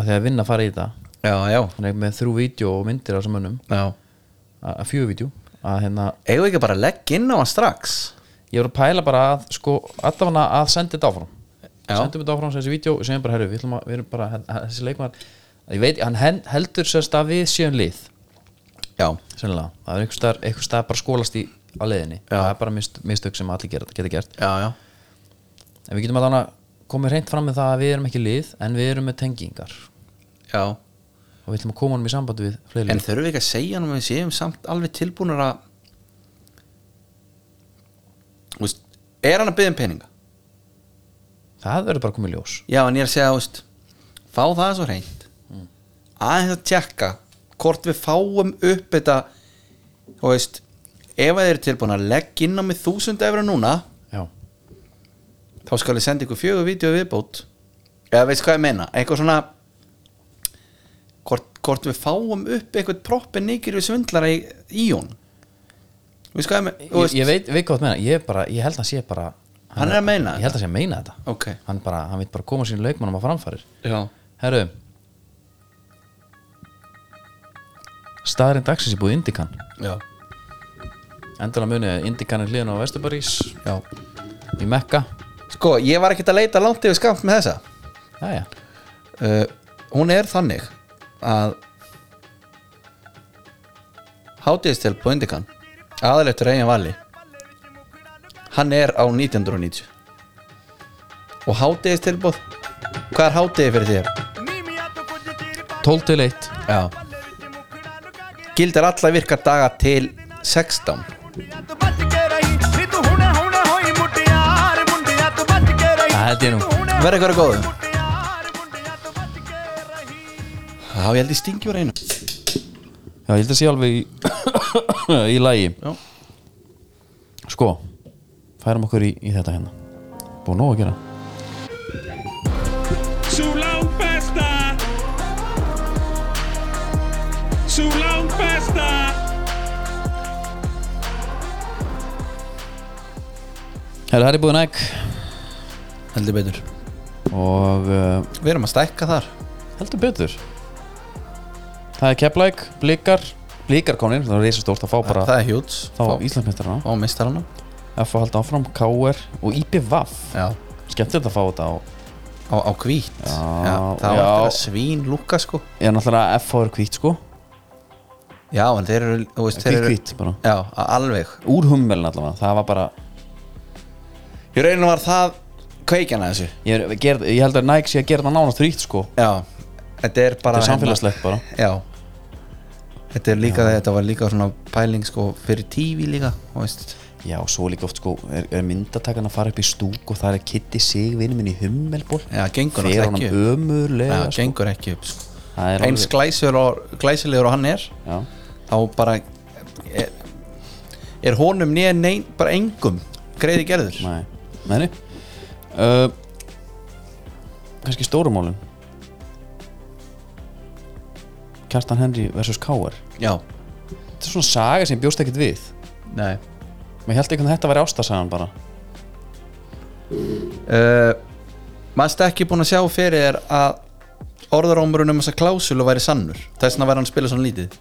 Speaker 1: að þegar vinna fara í þetta
Speaker 2: já, já,
Speaker 1: Hann er með þrjú vídeo og myndir af þessum mönnum
Speaker 2: já
Speaker 1: að að fjögur vídeo að hérna
Speaker 2: eigum við ekki bara að leggja inn á hann strax
Speaker 1: ég voru að pæla bara að sko allafana að senda þetta áfram
Speaker 2: Já.
Speaker 1: sendum þetta áfram þessi vídeo og segjum bara herru við, ætlum að, við erum bara hann- hann- þessi leikmar ég veit hann hen- heldur sérst að við séum lið
Speaker 2: já,
Speaker 1: sennilega það er einhver staðar, einhver staðar bara skólast í á leiðinni
Speaker 2: Já.
Speaker 1: það er bara mist, mistök sem allir gera, geta gert
Speaker 2: já, já
Speaker 1: en við getum allavega komið reynd fram með það að við erum ekki lið en við erum með tengingar
Speaker 2: já,
Speaker 1: og við ætlum að koma honum í sambandi við fleiri
Speaker 2: en
Speaker 1: lið
Speaker 2: þurfum við ekki að segja hann við séum samt alveg tilbúinur að Þú veist, er hann að byggja um peninga?
Speaker 1: það verður bara komið ljós
Speaker 2: Já, en ég er að segja, þú veist fá það svo reynd aðeins að tjekka hvort við fáum upp þetta þú veist, ef að þið eru tilbúin að leggja inn á mig þúsund efra núna
Speaker 1: já,
Speaker 2: þá skal ég senda ykkur fjögur vídeo viðbót eða veist hvað ég meina, eitthvað svona hvort, hvort við fáum upp eitthvað proppi nýkir við svindlara í, í hún veist hvað ég meina Þú
Speaker 1: ég,
Speaker 2: veist-
Speaker 1: ég veit, veit hvað það meina ég, er bara, ég held að sé bara
Speaker 2: Hann er að meina
Speaker 1: ég held að sé að meina þetta
Speaker 2: ok,
Speaker 1: hann, bara, hann veit bara koma sín leikmannum að framfærir
Speaker 2: já,
Speaker 1: herru staðarinn dagsins í búið Indikan
Speaker 2: já,
Speaker 1: endalega munið Indikan er hliðin á Vesturbarís
Speaker 2: já.
Speaker 1: í Mekka
Speaker 2: sko, ég var ekkert að leita langt yfir skamt með þessa
Speaker 1: Jæja.
Speaker 2: uh, hún er þannig að hátíðistel på Indikan aðalegtur eigin vali hann er á 1990 og hátíðistilbóð hvað er hátíði fyrir þér?
Speaker 1: 12 til 1
Speaker 2: Já. gildir alla virka daga til 16
Speaker 1: það held ég nú
Speaker 2: verður eitthvað góðu þá ég held ég stingjur einu
Speaker 1: já, ég held að sé alveg í, í lagi
Speaker 2: Já.
Speaker 1: sko færum okkur í, í þetta hérna búið nóg að gera
Speaker 3: Sú lang besta Sú lang besta
Speaker 1: herru, það er búið næg
Speaker 2: heldur betur
Speaker 1: og uh,
Speaker 2: við erum að stækka þar
Speaker 1: heldur betur það er keplæk, blikar blikar komin, það er reisastórt að fá bara
Speaker 2: það er hjúts
Speaker 1: þá Íslandsmeistarana
Speaker 2: og mistar hana
Speaker 1: F að halda áfram, KR og IPVAF
Speaker 2: já
Speaker 1: skemmtilegt að fá þetta á
Speaker 2: á, á hvít já, það
Speaker 1: já.
Speaker 2: var þetta svín lúka sko
Speaker 1: ég er náttúrulega að FH er hvít sko
Speaker 2: já, en þeir eru, þú veist, þeir
Speaker 1: hvít
Speaker 2: eru
Speaker 1: hvít bara
Speaker 2: já, a- alveg
Speaker 1: úr hummelin allavega, það var bara
Speaker 2: í rauninu var það kveikjan að þessu
Speaker 1: ég, er- ger, ég held að Nike sé að gera það nánast ríkt sko
Speaker 2: já, þetta er bara
Speaker 1: þetta er samfélagslegt bara
Speaker 2: hérna- já þetta er líka þetta var líka svona pæling sko fyrir tífi líka, þú veist
Speaker 1: já, svo líka oft sko, er, er myndatakana að fara upp í stúk og það er Kitty Sig vinnu minn í hummelból
Speaker 2: já, gengur
Speaker 1: fyrir
Speaker 2: náttúrulega
Speaker 1: honum
Speaker 2: ekki upp já,
Speaker 1: ömurlega sko.
Speaker 2: gengur ekki upp sko
Speaker 1: það er
Speaker 2: eins glæsilegur, glæsilegur og hann er
Speaker 1: já,
Speaker 2: þá bara er, er honum nýja neyn bara engum greiði gerður
Speaker 1: næ, næni uh, kannski stórumólin Kjartan Henry versus K.R.
Speaker 2: já,
Speaker 1: þetta er svona saga sem ég bjóst ekkert við
Speaker 2: nei
Speaker 1: maður held ekki að þetta væri ástasagan bara
Speaker 2: uh, maður er ekki búin að sjá fyrir þér að orðarómurinn um þessa klásulu væri sannur þess vegna væri hann að spila svona lítið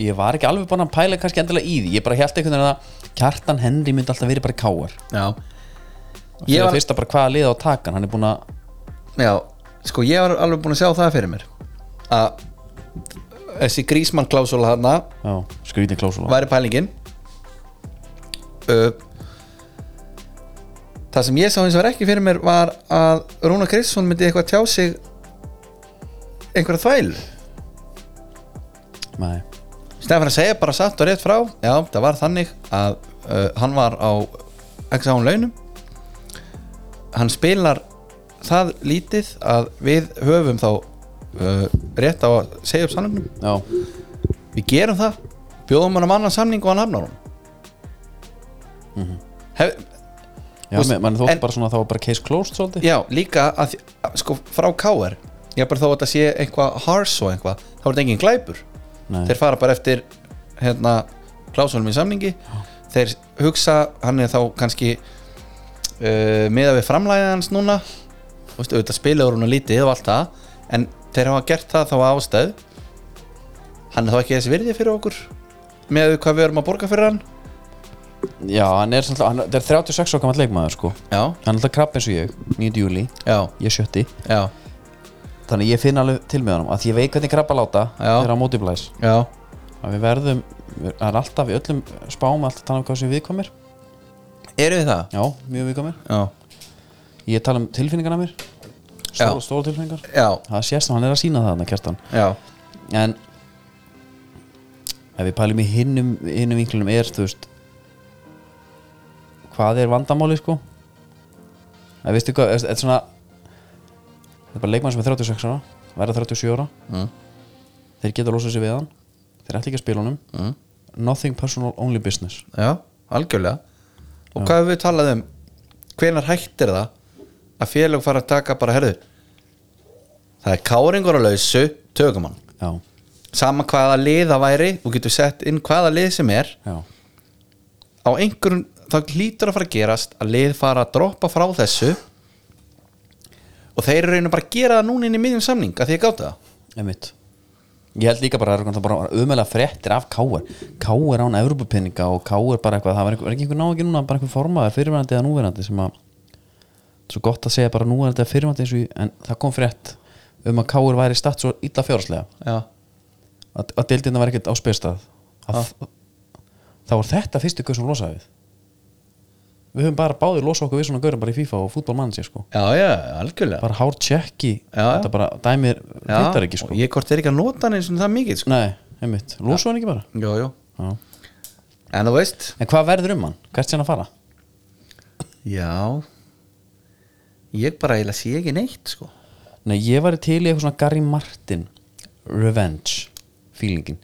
Speaker 1: ég var ekki alveg búin að pæla kannski endilega í því ég bara held einhvern veginn að Kjartan Henry myndi alltaf verið bara káar
Speaker 2: já.
Speaker 1: ég
Speaker 2: Ég,
Speaker 1: var...
Speaker 2: var,
Speaker 1: fyrsta bara hvaða liða á takan hann er búin að
Speaker 2: já, sko, ég var alveg búin að sjá það fyrir mér að þessi grísmann klásula hana
Speaker 1: já, skrýtin klásula
Speaker 2: væri pælingin uh, það sem ég sá eins og var ekki fyrir mér var að Rúna Kristson myndi eitthvað tjá sig einhverja þvælu
Speaker 1: Nei.
Speaker 2: Stefán að segja bara satt og rétt frá Já, það var þannig að uh, hann var á ekki sá hún launum Hann spilar það lítið að við höfum þá uh, rétt á að segja upp samningnum
Speaker 1: já,
Speaker 2: við gerum það, bjóðum hann um annan samning og hann hafnar hún Hef,
Speaker 1: já
Speaker 2: Þú veist,
Speaker 1: mér- mann þótt
Speaker 2: en-
Speaker 1: bara svona þá var bara case closed svolítið
Speaker 2: já, líka að, því- að sko, frá KR ég bara þó að þetta sé eitthvað harsh og eitthvað, þá er þetta engin glæpur
Speaker 1: Nei.
Speaker 2: þeir fara bara eftir hérna, klásunum í samningi þeir hugsa, hann er þá kannski uh, meða við framlæðið hans núna Þú veist, auðvitað spilaður hún að lítið og allt það en þeir hafa gert það þá að ástæð hann er þá ekki þessi virði fyrir okkur með við hvað við erum að borga fyrir hann
Speaker 1: já, hann er svolítið, hann það er 36 okkar leikmaður sko
Speaker 2: já,
Speaker 1: hann er alltaf krabb eins og ég, 9. júli
Speaker 2: já,
Speaker 1: ég er sjötti,
Speaker 2: já,
Speaker 1: þannig ég finn alveg til með honum að því ég veit hvernig krabba láta
Speaker 2: Já.
Speaker 1: þegar hann mótiblæs
Speaker 2: já
Speaker 1: að við verðum, við- það er alltaf í öllum spám alltaf tala um hvað sem viðkomir
Speaker 2: eru við það?
Speaker 1: já, mjög viðkomir,
Speaker 2: já,
Speaker 1: ég tala um tilfinningarna mér
Speaker 2: Já.
Speaker 1: stóra, stóra tilfinningar
Speaker 2: já,
Speaker 1: það sést að hann er að sína það hann kjartan
Speaker 2: já,
Speaker 1: en ef við pælum í hinnum hinnum vinklunum er þú veist hvað er vandamáli sko það veistu hvað þetta er svona þetta er bara leikmann sem er 36 ára verða 37 ára
Speaker 2: Mm.
Speaker 1: þeir geta losað sér við hann þeir ætla ekki að spila honum
Speaker 2: Mm.
Speaker 1: nothing personal, only business
Speaker 2: já algjörlega og hvað hefur við talað um hvenar hægt er það að félag fara að taka bara herðu það er káringur á lausu tökum hann
Speaker 1: já,
Speaker 2: sama hvaða lið það væri þú getur sett inn hvaða lið sem er
Speaker 1: já,
Speaker 2: á einhverjum þá hlýtur að fara að gerast að lið fara að droppa frá þessu og þeir eru einu bara að gera það núna inn í miðjum samning að því að gáta það
Speaker 1: einmitt ég held líka bara að það er bara umjöðlega fréttir af K.R. K.R. án Evropapinninga og K.R. bara eitthvað, það var einhver, var ekki einhver ná ekki núna bara einhver formaður fyrirverandi eða núverandi sem að svo gott að segja bara núverandi eða fyrirverandi eins og í, en það kom frétt um að K.R. væri statt svo illa fjárslega
Speaker 2: já,
Speaker 1: að, að deildina væri ekkert á spyrstað að, þá var þetta fyrstu gaur sem losaði við við höfum bara báðir losa okkur við svona gaurum bara í FIFA og fútbolmann sér sko
Speaker 2: já, já, algjörlega
Speaker 1: bara hár tjekki,
Speaker 2: Já, já.
Speaker 1: þetta bara dæmir hittar ekki sko,
Speaker 2: og ég hvort er ekki að nota hann eins og það mikið sko.
Speaker 1: nei, einmitt losa hann ekki bara
Speaker 2: já, já.
Speaker 1: Já.
Speaker 2: en þú veist
Speaker 1: En hvað verður um hann? Hvert sé hann að fara?
Speaker 2: Já Ég bara eiginlega sé ekki neitt sko
Speaker 1: Nei, ég var til í eitthvað svona Gary Martin Revenge feelingin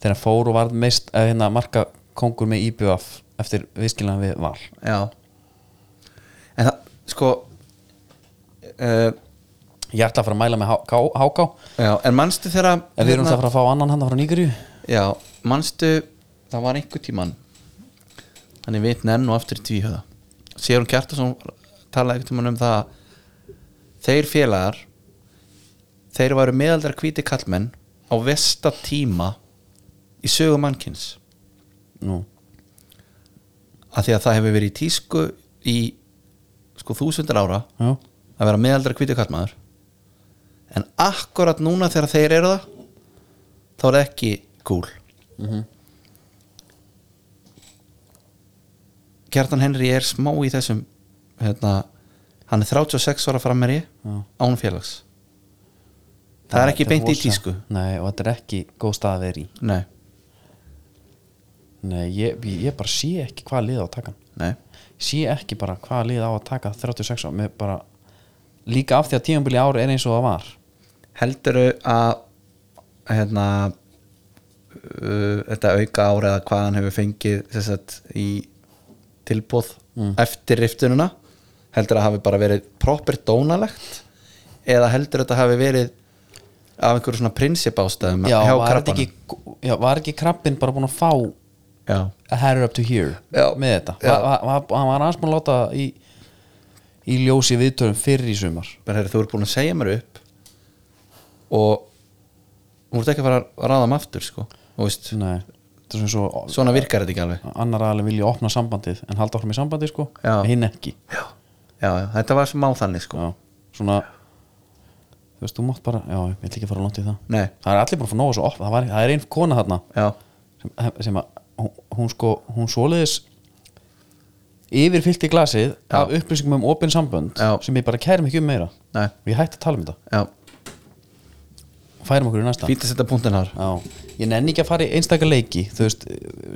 Speaker 1: þegar hann fór og var mest að hérna, marka kongur með IBF eftir viðskilnaðan við val
Speaker 2: Já En það, sko uh,
Speaker 1: Ég ætla að fara að mæla með Há- Ká- Háká
Speaker 2: Já, en manstu þeirra
Speaker 1: en við
Speaker 2: Hérna-
Speaker 1: erum það að fara að fá annan hann að fara nýgurju
Speaker 2: Já, manstu Það var einhver tíman Þannig veit nenn og aftur í tvíhöða Sérun Kjartason talaði einhvern tíman um það að Þeir félagar Þeir varu meðaldra hvíti kallmenn á vesta tíma í sögu mannkyns
Speaker 1: Nú,
Speaker 2: að því að það hefur verið í tísku í sko þúsundar ára
Speaker 1: já,
Speaker 2: að vera meðaldra hvítu kallmaður en akkurat núna þegar þeir eru það þá er það ekki cool
Speaker 1: Mhm.
Speaker 2: Kjartan Henry er smá í þessum hérna, hann er 36 ára frammeri
Speaker 1: Já.
Speaker 2: án félags það er ekki
Speaker 1: þetta
Speaker 2: beint í
Speaker 1: rosa-
Speaker 2: tísku
Speaker 1: Nei, og þetta er ekki góð stað að vera í
Speaker 2: nei,
Speaker 1: Nei, ég, ég bara sé ekki hvað liða á að taka hann
Speaker 2: nei,
Speaker 1: sé ekki bara hvað liða á að taka 36 á, með bara líka af því að tímanbili ári er eins og það var
Speaker 2: heldurðu að hérna uh, þetta auka ára eða hvað hann hefur fengið sem sagt, í tilbúð
Speaker 1: Mm.
Speaker 2: eftir riftununa heldur að hafi bara verið proper dónalegt eða heldur þetta hafi verið af einhverju svona prinsip ástæðum
Speaker 1: já,
Speaker 2: hjá
Speaker 1: var, þetta
Speaker 2: krabbanum
Speaker 1: ekki, já, var ekki krabbin bara búin að fá
Speaker 2: já,
Speaker 1: a hair up to here
Speaker 2: Já.
Speaker 1: með þetta
Speaker 2: Já.
Speaker 1: Va- va- va- hann var aðeins búin að láta það í, í ljósi viðtörum fyrir í sumar
Speaker 2: bara heyrðu, þú ert búin að segja mér upp og þú ert ekki að fara að ráða mig aftur sko, þú veist,
Speaker 1: Nei, þetta er sem svo
Speaker 2: svona virkar þetta ekki alveg
Speaker 1: annar aðlega vilja opna sambandið en halda áfram í sambandið sko,
Speaker 2: Já.
Speaker 1: hinn ekki
Speaker 2: já, já, já, þetta var smá þannig sko
Speaker 1: já, svona þú veist, þú mátt bara, já, ég ætla ekki að fara langt í það
Speaker 2: Nei.
Speaker 1: það er allir búin að fá nóga svo opna það, var, það er einn kona þarna
Speaker 2: já,
Speaker 1: sem, sem að hún, hún sko, hún svoleiðis yfirfyllti glasið
Speaker 2: Já.
Speaker 1: af upplýsingum um opin sambönd
Speaker 2: Já.
Speaker 1: sem ég bara kærum ekki um meira
Speaker 2: nei,
Speaker 1: og ég hætti að tala um þetta
Speaker 2: já
Speaker 1: og færum okkur í næsta
Speaker 2: fínt að setja punktin þar
Speaker 1: Já, ég nenni ekki að fara í einstaka leiki þú veist,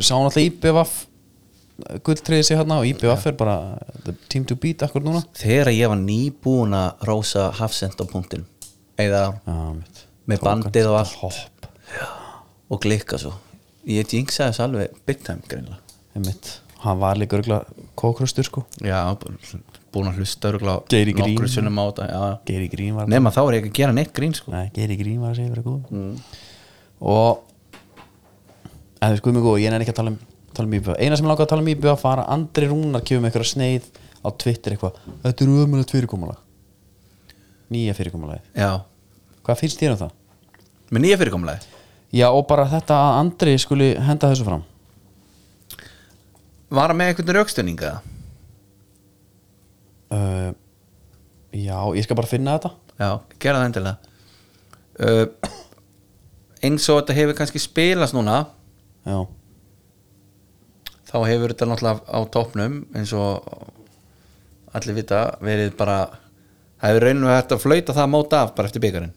Speaker 1: sá hann alltaf IBVF gulltriði sig hérna og IBF er bara the team to beat akkur núna
Speaker 2: Þegar ég var nýbúin að rósa hafsend á punktinum eða
Speaker 1: Já, mitt.
Speaker 2: Með
Speaker 1: Tók hann
Speaker 2: bandið og
Speaker 1: þetta
Speaker 2: allt.
Speaker 1: hopp,
Speaker 2: og glikka svo Ég jinxaði þess alveg big time greinlega
Speaker 1: einmitt. hann var líka örgla kókröstur sko
Speaker 2: Já, búin að hlusta örgla
Speaker 1: Geiri Grín.
Speaker 2: nokkur sunnum á þetta já.
Speaker 1: Geiri Grín var
Speaker 2: Nema þá er ég ekki að gera neitt grín sko
Speaker 1: Nei, Geiri Grín var að segja verið góð og en við skoðum við góð, ég nefnir ekki að tala um, tala um IBF eina sem langaði að tala um IBF var að Andri Rúnar kemur með eitthvað sneið á Twitter eitthvað þetta eru ömulegt fyrirkomulag nýja fyrirkomulagi,
Speaker 2: Já,
Speaker 1: hvað finnst þér um það?
Speaker 2: með nýja fyrirkomulagi
Speaker 1: Já og bara þetta að Andri skuli henda þessu fram
Speaker 2: Var hann með einhvern raukstunninga?
Speaker 1: uh, Já, ég skal bara finna þetta
Speaker 2: Já, gera það endilega uh, Eins og þetta hefur kannski spilast núna
Speaker 1: Já,
Speaker 2: þá hefur þetta náttúrulega á toppnum eins og allir vita verið bara það hefur raunum að þetta flauta það mót af bara eftir byggarinn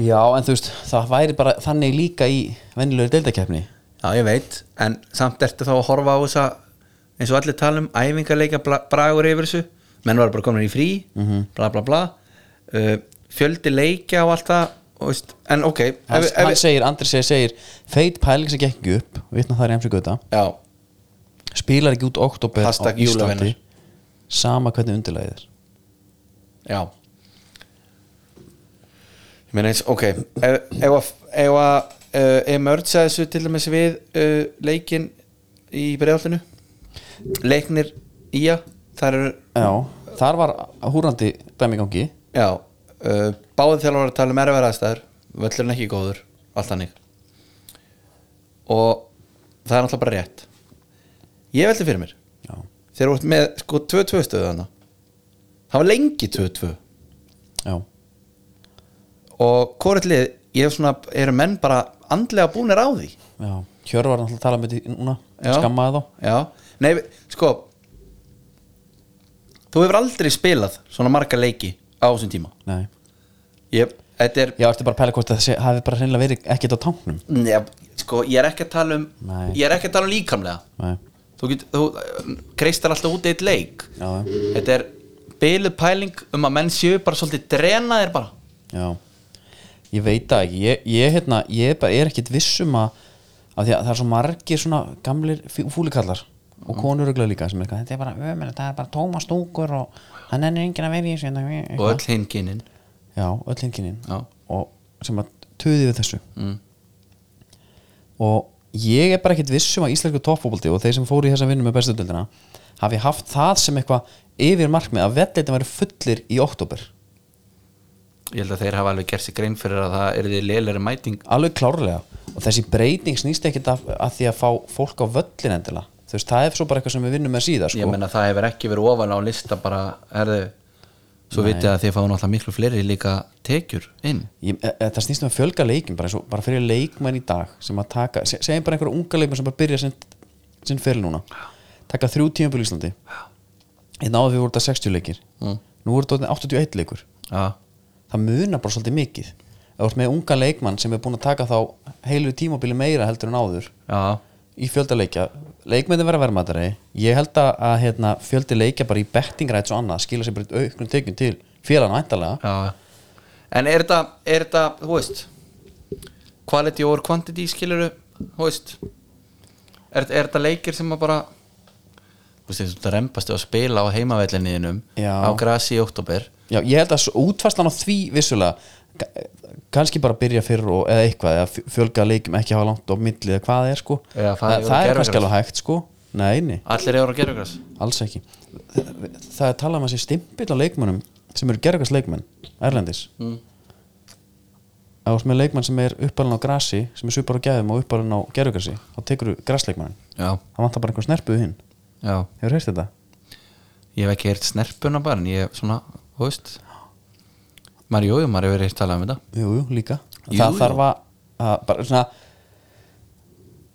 Speaker 1: já en þú veist það væri bara þannig líka í venjulegur deildakefni
Speaker 2: já ég veit, en samt ertu þá að horfa á þessa eins og allir tala um æfingarleika bla- bragur yfir þessu menn var bara komin í frí, bla bla bla uh, fjöldi leikja og allt það og veist, en ok ef,
Speaker 1: Hann,
Speaker 2: við- ef,
Speaker 1: hann
Speaker 2: við-
Speaker 1: segir, Andri segir, segir feit pæling sem gekk ekki upp, vitna það er heimsíku þetta
Speaker 2: já,
Speaker 1: spilar ekki út oktober
Speaker 2: Hashtag jólavinnar.
Speaker 1: sama hvernig undirlegið er
Speaker 2: já ég meina eins, ok ef, ef að, ef að uh, emerge að þessu til dæmis við uh, leikin í bregðaltinu leiknir í að þar eru
Speaker 1: Já, þar var húrandi dæmi í gangi
Speaker 2: Já, uh, báðið þjálfur að tala um erfæra aðstæður Völlurinn ekki góður, allt hannig Og það er náttúrulega bara rétt Ég velti fyrir mér
Speaker 1: Já,
Speaker 2: Þeir voru með sko 2-2 stöðu þarna Það var lengi 2-2
Speaker 1: já,
Speaker 2: Og hvort lið, ég hef svona Eru menn bara andlega búnir á því
Speaker 1: já Hjörvar náttúrulega að tala með því núna
Speaker 2: Já.
Speaker 1: skammaði þá
Speaker 2: Já, nei, við- sko Þú hefur aldrei spilað Svona marga leiki á þessum tíma
Speaker 1: Nei.
Speaker 2: Ég, þetta er
Speaker 1: Já, ertu bara að pæla hvort að það hafi bara hreinlega verið ekkert á tanknum
Speaker 2: Nei, sko, ég er ekki að tala um
Speaker 1: Nei.
Speaker 2: Ég er ekki að tala um líkamlega
Speaker 1: Nei,
Speaker 2: Þú, get, þú kreistar alltaf út eitt leik
Speaker 1: já,
Speaker 2: Þetta er byluð pæling um að menn séu bara svolítið drenaðir bara
Speaker 1: já Ég veit það ekki, ég, ég, hérna, ég bara er ekkert vissum að, að, því að það er svo margir svona gamlir fí- fúlikallar og
Speaker 2: Mhm.
Speaker 1: konur öglega líka sem er eitthvað, þetta er bara ömur, það er bara tóma stúkur og hann ennur enginn að vera í þessu hérna,
Speaker 2: og öll hinn kynin
Speaker 1: Já, öll hinkininn
Speaker 2: Já.
Speaker 1: og sem að tuði við þessu mm. og ég er bara ekkert viss um að íslensku toppfóbaldi og þeir sem fóru í þessa vinnu með bestu dildina hafi haft það sem eitthvað yfir markmið að velleitin væri fullir í oktober
Speaker 2: Ég held að þeir hafa alveg gert sér grein fyrir að það er því lélegri mæting
Speaker 1: alveg klárlega og þessi breyting snýst ekkert að, að því að fá fólk á völlin endilega þú veist, það er svo bara eitthvað sem við vinnum með síðar
Speaker 2: Ég
Speaker 1: sko.
Speaker 2: meina það hefur ekki verið ofan á lista bara erðu Svo vitið að þeir fá náttúrulega miklu fleiri líka tekjur inn
Speaker 1: ég, e, e, það snýst um að fjölga leikin bara, eins og, bara fyrir leikmenn í dag sem að taka, se, segjum bara einhverja unga leikmenn sem bara byrja sinn, sinn fyrir núna taka þrjú tíma í Íslandi einn áður við voru þetta 60 leikir
Speaker 2: Mm.
Speaker 1: nú voru þetta orðnir 81 leikur
Speaker 2: Já,
Speaker 1: það munar bara svolítið mikið það voru með unga leikmann sem er búin að taka þá heilu tímabili meira heldur en áður
Speaker 2: já,
Speaker 1: í fjölda leikja leikmyndin verða verðmættari ég held að, að hérna, fjöldi leikja bara í bettingræts og annað skila sér bara auknum tekjum til félagna væntalega
Speaker 2: já En er þetta, er þetta, þú veist Quality over quantity skilur Þú veist Er, er þetta leikir sem að bara Þú veist, þetta rempastu að spila á heimavellinniðinum
Speaker 1: Já.
Speaker 2: Á grasi í oktober
Speaker 1: Já, ég held að svo útfæslan á því vissulega ka- kannski bara byrja fyrr og, eða eitthvað, eða f- fjölga leikum ekki hafa langt á milli eða hvað það er sko
Speaker 2: Eða
Speaker 1: það,
Speaker 2: fara yfir á
Speaker 1: það er
Speaker 2: gervigras.
Speaker 1: kannski alveg hægt sko Nei, nei,
Speaker 2: Allir eru að gera gras
Speaker 1: alls ekki Það, það er talað um að sé stimpill á leikmönnum sem eru gerðast leikmenn, Erlendis mm. Það er með leikmenn sem er uppalinn á grasi sem er supar á gæðum og uppalinn á gerðugrasi þá tekur þú grasleikmannin
Speaker 2: Já,
Speaker 1: það vantar bara einhver snerpuð hinn
Speaker 2: já
Speaker 1: Hefur heist þetta?
Speaker 2: Ég hef ekki heyrt snerpuna bara En ég hef svona, þú veist Maður, jú, jú, maður hefur heyrt talað um þetta
Speaker 1: Jú, jú, líka
Speaker 2: Jú,
Speaker 1: Það
Speaker 2: jú.
Speaker 1: þarf að, að bara, svona,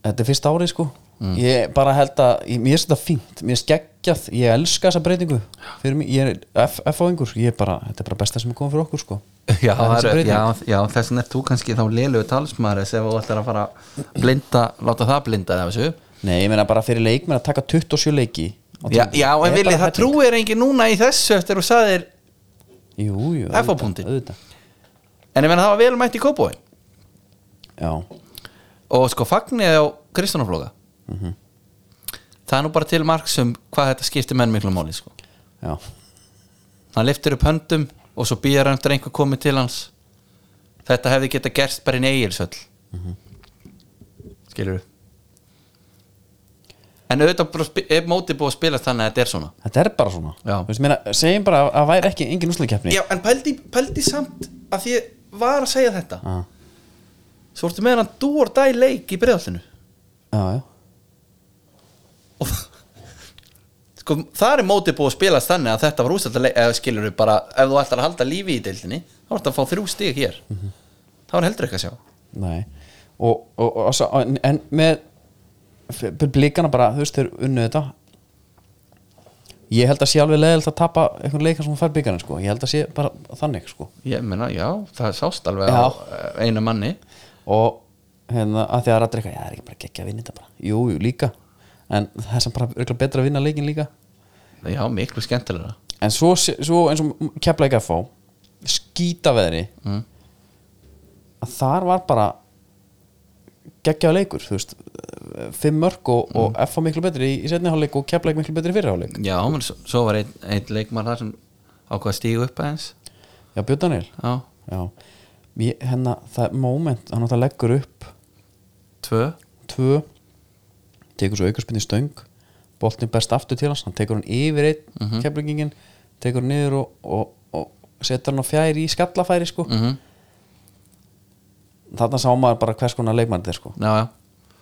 Speaker 1: Þetta er fyrsta árið sko
Speaker 2: Mm.
Speaker 1: Ég bara held að, ég, mér finnst þetta fínt Mér finnst geggjað, ég elska þessa breytingu Fyrir mig, ég er F- F-áingur Ég er bara, þetta er bara besta sem er komið fyrir okkur sko Það
Speaker 2: Já,
Speaker 1: er þessi
Speaker 2: það er,
Speaker 1: breyting.
Speaker 2: já, já þess vegna er þú kannski þá lélögu talsmaður þess ef þú ætlar að fara að blinda, láta það blinda það þessu
Speaker 1: Nei, ég meina bara fyrir leikmenn að taka 27 leiki á
Speaker 2: Já,
Speaker 1: tímabili.
Speaker 2: já en
Speaker 1: er
Speaker 2: villi,
Speaker 1: bara
Speaker 2: það
Speaker 1: helling.
Speaker 2: trúir engin núna í þessu eftir þú sagðir,
Speaker 1: Jú, jú,
Speaker 2: FH
Speaker 1: auðvitað,
Speaker 2: punktin.
Speaker 1: auðvitað.
Speaker 2: en ég menna það var vel mætt í kópóin
Speaker 1: Já,
Speaker 2: og sko fagnið á Kristjánaflóka
Speaker 1: Mhm.
Speaker 2: það er nú bara til marksum hvað þetta skiptir menn miklu máli sko.
Speaker 1: já,
Speaker 2: hann liftir upp höndum og svo býðar hann eftir að einhver komið til hans þetta hefði geta gerst bara inn eigilsöll mm -hmm. skilur en auðvitað bara spi- er mótið búið að spila þannig að þetta er svona
Speaker 1: þetta er bara svona
Speaker 2: Já.
Speaker 1: Þú veist, meina, Segjum bara að, að væri ekki engin úsleikeppni
Speaker 2: Já, en pældi, pældi samt að því ég var að segja þetta
Speaker 1: Já.
Speaker 2: Svo ertu með hann dúr dæ leik í breiðallinu
Speaker 1: já, já,
Speaker 2: og sko, þar er mótið búið að spilast þannig að þetta var ústættaleik eða skilur við bara, ef þú ætlar að halda lífi í deildinni þá ertu að fá þrjú stig hér þá er heldur ekki að sjá
Speaker 1: nei Og, og, og, og en, en með f- blikana bara, þú veist, þeir unnu þetta Ég held að sé alveg leðilt að tapa einhvern leika sem hún fær byggarinn, sko Ég held að sé bara þannig, sko
Speaker 2: Ég meina, já, það sást alveg
Speaker 1: Já.
Speaker 2: á eh, einu manni
Speaker 1: og hérna, að því að rættur eitthvað, já, það er ekki bara geggja að vinna þetta bara, jú, jú, líka en það er sem bara örugglega betra að vinna leikin líka
Speaker 2: Já, miklu skemmtilega
Speaker 1: en svo, svo eins og kepla ekki að fá skýta veðri
Speaker 2: Mm.
Speaker 1: að þar var bara geggjaða leikur, þú veist fimm mörg og, og F miklu betri í, í setni hálfleik og kepla ekki miklu betri í fyrri hálfleik
Speaker 2: Já, menn, svo, svo var einn ein leikmar þar sem ákvað að stígu upp aðeins
Speaker 1: já, Björn Daniel,
Speaker 2: Já,
Speaker 1: já Ég, hennar, það moment, hann náttúrulega leggur upp
Speaker 2: tvö
Speaker 1: tvö tekur svo aukarspinni stöng boltin berst aftur til hans, hann tekur hann yfir einn mm tekur hann niður og, og, og setur hann á fjær í skallafæri sko.
Speaker 2: mm
Speaker 1: þarna sá maður bara hvers konar leikmann þetta er sko.
Speaker 2: Já, já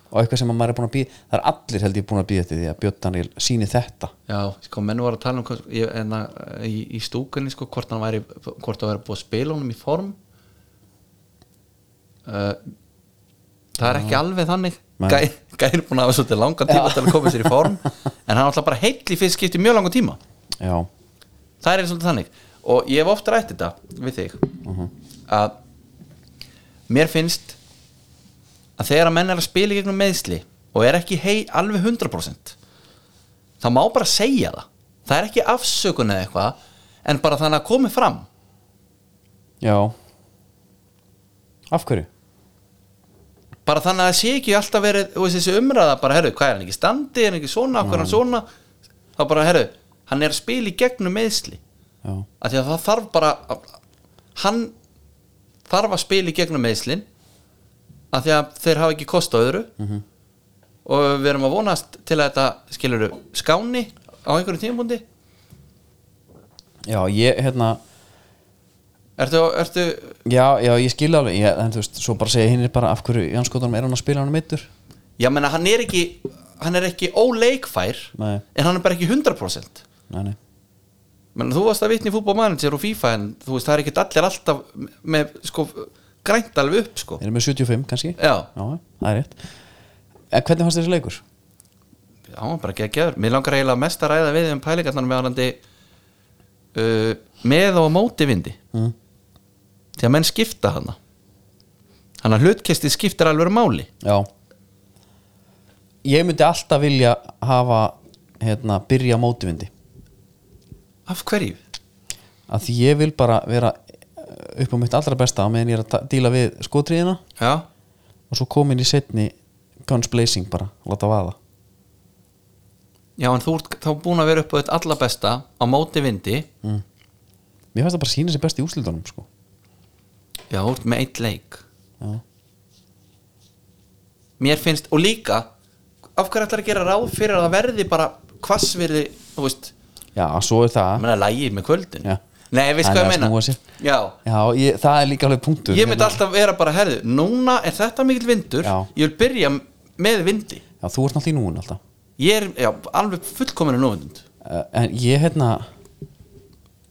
Speaker 1: og eitthvað sem að maður er búin að býða það er allir held ég búin að býða þetta því að Björn Daniel síni þetta
Speaker 2: Já, sko, menn voru að tala um hvort- ég- hérna, í, í stúkunni, sko, hvort hann væri hvort það væri búið að spila honum í form uh, Það er ekki alveg þannig
Speaker 1: Nei.
Speaker 2: Gæ, Gæri er búin að hafa svolítið langan tíma til að koma sér í form en hann er alltaf bara heill í fyrst skipti í mjög langan tíma
Speaker 1: já,
Speaker 2: Það er svolítið þannig og ég hef oft rætt þetta við þig að mér finnst að þegar að menn er að spila í gegnum meðsli og er ekki hei alveg 100% þá má bara segja það það er ekki afsökun eða eitthvað en bara þannig að komi fram
Speaker 1: já af hverju?
Speaker 2: bara þannig að það sé ekki alltaf verið þú veist, þessi umræða bara, herru, hvað er hann ekki í standi er hann ekki svona, hvað er hann svona þá bara, herru, hann er að spila í gegnum meðsli
Speaker 1: já,
Speaker 2: að því að það þarf bara að, hann þarf að spila í gegnum meðslin að því að þeir hafa ekki kost á öðru -hmm. og við erum að vonast til að þetta skilur skáni á einhverjum tímabundi
Speaker 1: já ég hérna
Speaker 2: ertu, ertu
Speaker 1: já, já, ég skil alveg ég, en þú veist, svo bara segja hinn bara af hverju í anskotunum er hann að spila hann meittur
Speaker 2: já menna hann er ekki hann er ekki óleikfær
Speaker 1: Nei.
Speaker 2: en hann er bara ekki 100%
Speaker 1: nei, nei,
Speaker 2: menna þú varst að vitni fútbolmanager og FIFA en þú veist það er ekki allir alltaf með sko grænt alveg upp sko
Speaker 1: erum við 75 kannski?
Speaker 2: já,
Speaker 1: Já, það er rétt En hvernig fannst þér þessi leikur?
Speaker 2: Já, hann var bara geggjaður Mér langar eiginlega mest að ræða við um pælingarnar með árandi uh, með og á móti vindi
Speaker 1: Mm.
Speaker 2: því að menn skipta hana hann að hlutkesti skiptir alveg máli
Speaker 1: Já Ég myndi alltaf vilja hafa hérna, byrja mótivindi
Speaker 2: Af hverju?
Speaker 1: að því ég vil bara vera eh, upp á mitt allra besta á meðan ég er að ta- díla við skotriðina
Speaker 2: Já,
Speaker 1: og svo komin í setni guns blazing bara, láta vaða
Speaker 2: Já en þú ert þá búin að vera upp á þetta alla besta á móti vindi
Speaker 1: Mér fannst það bara sína sér best í úslitunum sko.
Speaker 2: Já, þú ert með eitt leik
Speaker 1: Já.
Speaker 2: Mér finnst, og líka af hverju ætlar að gera ráð fyrir að það verði bara hvassverði, þú veist
Speaker 1: Já, svo er
Speaker 2: að
Speaker 1: það
Speaker 2: menna lægið með kvöldin
Speaker 1: Já.
Speaker 2: Nei, veist
Speaker 1: Hann er
Speaker 2: hvað ég
Speaker 1: að
Speaker 2: meina
Speaker 1: snúa sér.
Speaker 2: Já,
Speaker 1: Já, ég, það er líka alveg punktur
Speaker 2: ég myndi
Speaker 1: Hérna-
Speaker 2: alltaf vera bara herðu núna er þetta mikill vindur
Speaker 1: Já.
Speaker 2: ég vil byrja með vindi
Speaker 1: Já, þú ert náttúrulega í núin alltaf
Speaker 2: ég er já, alveg fullkominu núvindund
Speaker 1: Uh, en ég hérna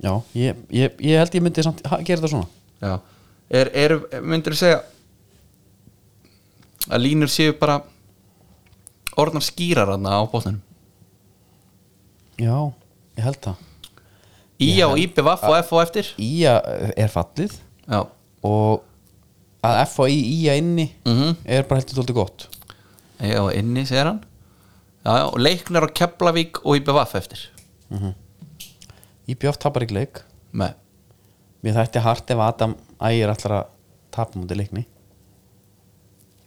Speaker 1: já, ég, ég, ég held ég myndi samt ha, gera þetta svona
Speaker 2: já. er, er myndur þú segja að línur séu bara orðnar skýrar hana á bóttunum
Speaker 1: já, ég held það
Speaker 2: í á IB, Vaff og F og eftir
Speaker 1: Ía er fallið
Speaker 2: já,
Speaker 1: og að FAI í að inni
Speaker 2: Mhm.
Speaker 1: er bara heldur tóldi gott
Speaker 2: já, inni segir hann já, já, og leiknar á Keflavík og IBVF eftir
Speaker 1: IBF E tapar ekki leik
Speaker 2: með,
Speaker 1: mér þætti hart ef Adam ægir allar að tapa mútið leikni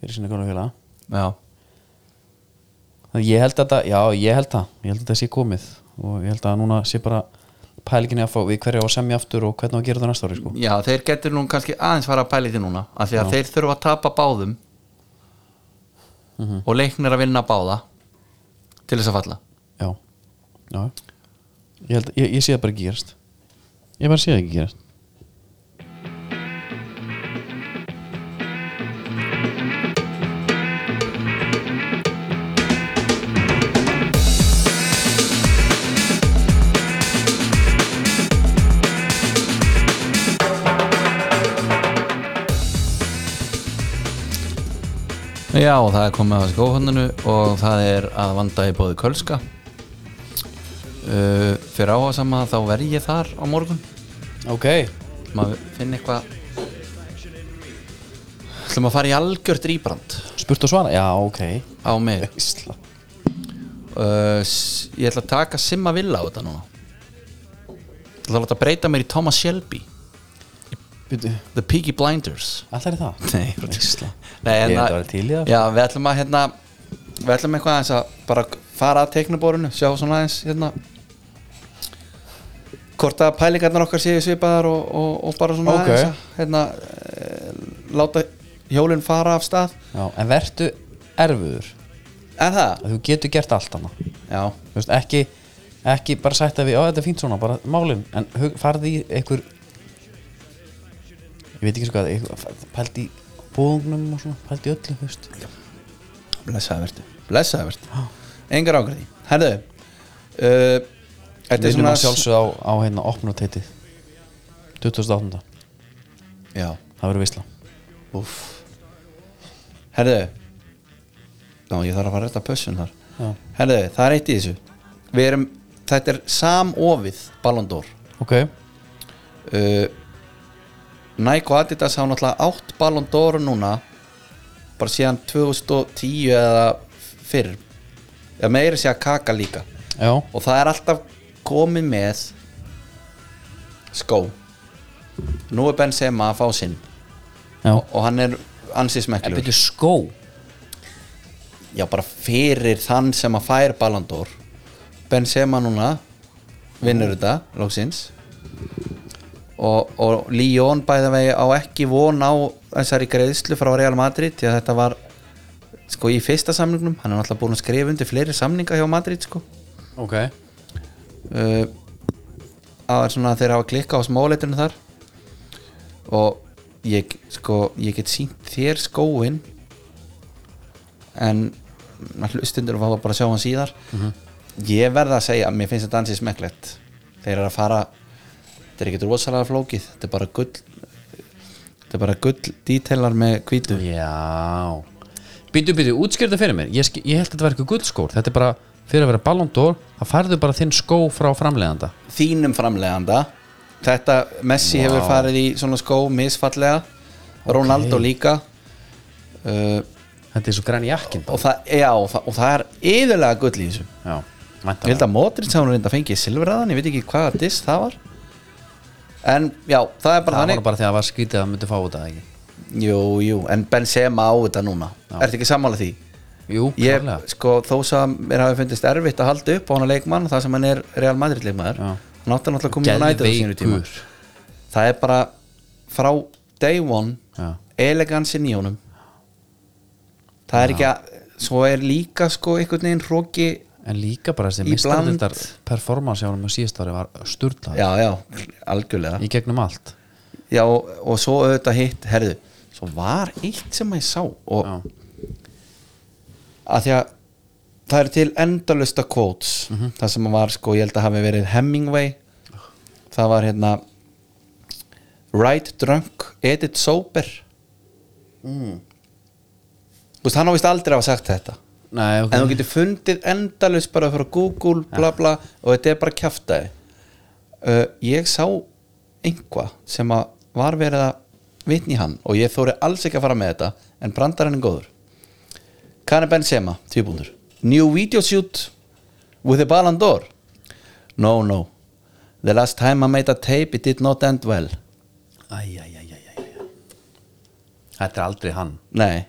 Speaker 1: fyrir sinni konu fjöla
Speaker 2: já,
Speaker 1: þannig ég held að það, já ég held það ég held að það sé komið og ég held að núna sé bara pælinginni að fá við hverju á að semja aftur og hvernig á að gera það næsta ári sko
Speaker 2: já, þeir getur nú kannski aðeins fara að pæli því núna af því að þeir þurfa að tapa báðum og leiknar að vinna báða til þess að falla
Speaker 1: já, já ég, held, ég, ég sé það bara ekki gerast ég bara sé það ekki gerast
Speaker 2: Já, og það er komið að skóhanninu og það er að vanda í bóði Kölska uh, Fyrir áhuga sama þá verð ég þar á morgun
Speaker 1: ok,
Speaker 2: maður finn eitthvað ætlum að fara í algjört rýbrand
Speaker 1: spurt og svara, já ok
Speaker 2: á mig
Speaker 1: Ísla.
Speaker 2: uh, s- Ég ætla að taka Simma Villa á þetta núna Ég ætla að láta breyta mér í Thomas Shelby
Speaker 1: Býtu,
Speaker 2: The Peaky Blinders
Speaker 1: allar er það
Speaker 2: Nei,
Speaker 1: Ísla.
Speaker 2: Nei,
Speaker 1: Ég
Speaker 2: en
Speaker 1: held
Speaker 2: að-
Speaker 1: að væri til í það,
Speaker 2: Já, við ætlum að hérna Við ætlum eitthvað aðeins að bara fara að teiknaborinu Sjá svona aðeins hérna Hvort að pælingarnar okkar séu svipaðar og, og, og bara svona
Speaker 1: Ok.
Speaker 2: aðeins að, hérna, e, Láta hjólinn fara af stað
Speaker 1: já, en vertu erfuður
Speaker 2: Er það?
Speaker 1: að þú getur gert allt annað
Speaker 2: Já,
Speaker 1: Þú veist, ekki, ekki bara sætt að við, á þetta er fínt svona, bara málin en hug- farðu í einhver ég veit ekki svo hvað einhver- pælt í búðungnum og svona pælt í öllu, þú veist
Speaker 2: blessaði vertu Blessaði vertu Engar ágræði Herðu uh,
Speaker 1: við
Speaker 2: Þetta er
Speaker 1: erum
Speaker 2: svona
Speaker 1: að sjálfsögða á, á hérna opnuteitið 2008
Speaker 2: Já,
Speaker 1: það verður visla
Speaker 2: úff Herðu Ná, ég þarf að fara að rétta pössun þar
Speaker 1: já.
Speaker 2: Herðu, það er eitt í þessu Við erum, þetta er samofið Ballon d'Or
Speaker 1: ok,
Speaker 2: uh, Nike og Adidas hafa náttúrulega átt Ballon d'Or núna bara síðan 2010 eða fyrr eða meira sé að kaka líka
Speaker 1: já,
Speaker 2: og það er alltaf komið með skó nú er Benzema að fá sinn
Speaker 1: já
Speaker 2: og hann er
Speaker 1: en
Speaker 2: ansísmeklur
Speaker 1: byrju skó
Speaker 2: já bara fyrir þann sem að fær Ballon d'Or Benzema núna vinnur þetta lóksins og, og Lyon bæða vegi á ekki von á þessari greiðslu frá Real Madrid því að þetta var sko í fyrsta samningnum hann er náttúrulega búin að skrifa undir fleiri samninga hjá Madrid sko
Speaker 1: ok,
Speaker 2: uh, að er svona að þeir hafa klikka á smáleitunum þar og ég sko, ég get sínt þér skóin en hlustundur var bara að sjá hann síðar ég verða að segja, mér finnst þetta ansið smekklegt þeir eru að fara þetta er ekkert rosalega flókið þetta er bara gull þetta er bara gull dítelar með hvítu
Speaker 1: já byrju, byrju, útskýrðu fyrir mér ég, sk- ég held að þetta verður ekki guldskór þetta er bara fyrir að vera Ballon d'Or það færðu bara þinn skó frá framleiðanda
Speaker 2: þínum framleganda þetta Messi hefur farið í svona skó misfallega, Ronaldo líka uh,
Speaker 1: þetta er svo græn jakkin
Speaker 2: og, það, já, og, það, og það er yfirlega gull í þessu
Speaker 1: já,
Speaker 2: ég held
Speaker 1: væntanlega.
Speaker 2: að Modric hann reynda að fengi silfraðan, ég veit ekki hvaða diss það var en já, það er bara
Speaker 1: það var
Speaker 2: þannig
Speaker 1: nú bara því að það var skrítið að það myndi fá þetta eða ekki
Speaker 2: jú, jú, en Benzema á þetta núna ertu ekki sammála því?
Speaker 1: jú,
Speaker 2: Ég,
Speaker 1: klárlega
Speaker 2: sko, þó sem mér hafi fundist erfitt að halda upp á hana leikmann, það sem hann er Real Madrid leikmaður,
Speaker 1: Já.
Speaker 2: hann átti náttúrulega að koma í United á sínu tíma
Speaker 1: Geðveikur.
Speaker 2: það er bara frá day one
Speaker 1: Já.
Speaker 2: elegansin í honum það er ekki að svo er líka sko einhvern veginn hróki
Speaker 1: en líka bara þessi
Speaker 2: Í bland.
Speaker 1: mistaldildar performance hjá hann með síðast ári var sturlað
Speaker 2: já já, algjörlega
Speaker 1: í gegnum allt
Speaker 2: já, og, og svo auðvitað hitt, herðu svo var eitt sem ég sá og
Speaker 1: Já.
Speaker 2: að því að það eru til endalusta quotes það sem var sko, ég held að hafi verið Hemingway það var hérna right drunk, edit sober mm. þú veist, hann á vist aldrei að hafa sagt þetta
Speaker 1: Nei, ok.
Speaker 2: en þú getur fundið endalust bara frá Google, bla bla og þetta er bara kjaftaði uh, ég sá einhvað sem að var verið að vitni í hann og ég þóri alls ekki að fara með þetta en brandarinn er góður Kane Benzema, tíbúndur New video shoot with a Ballon d'Or No, no The last time I made a tape it did not end well
Speaker 1: Æ, æ, æ, æ, æ, æ. Þetta er aldrei hann
Speaker 2: Nei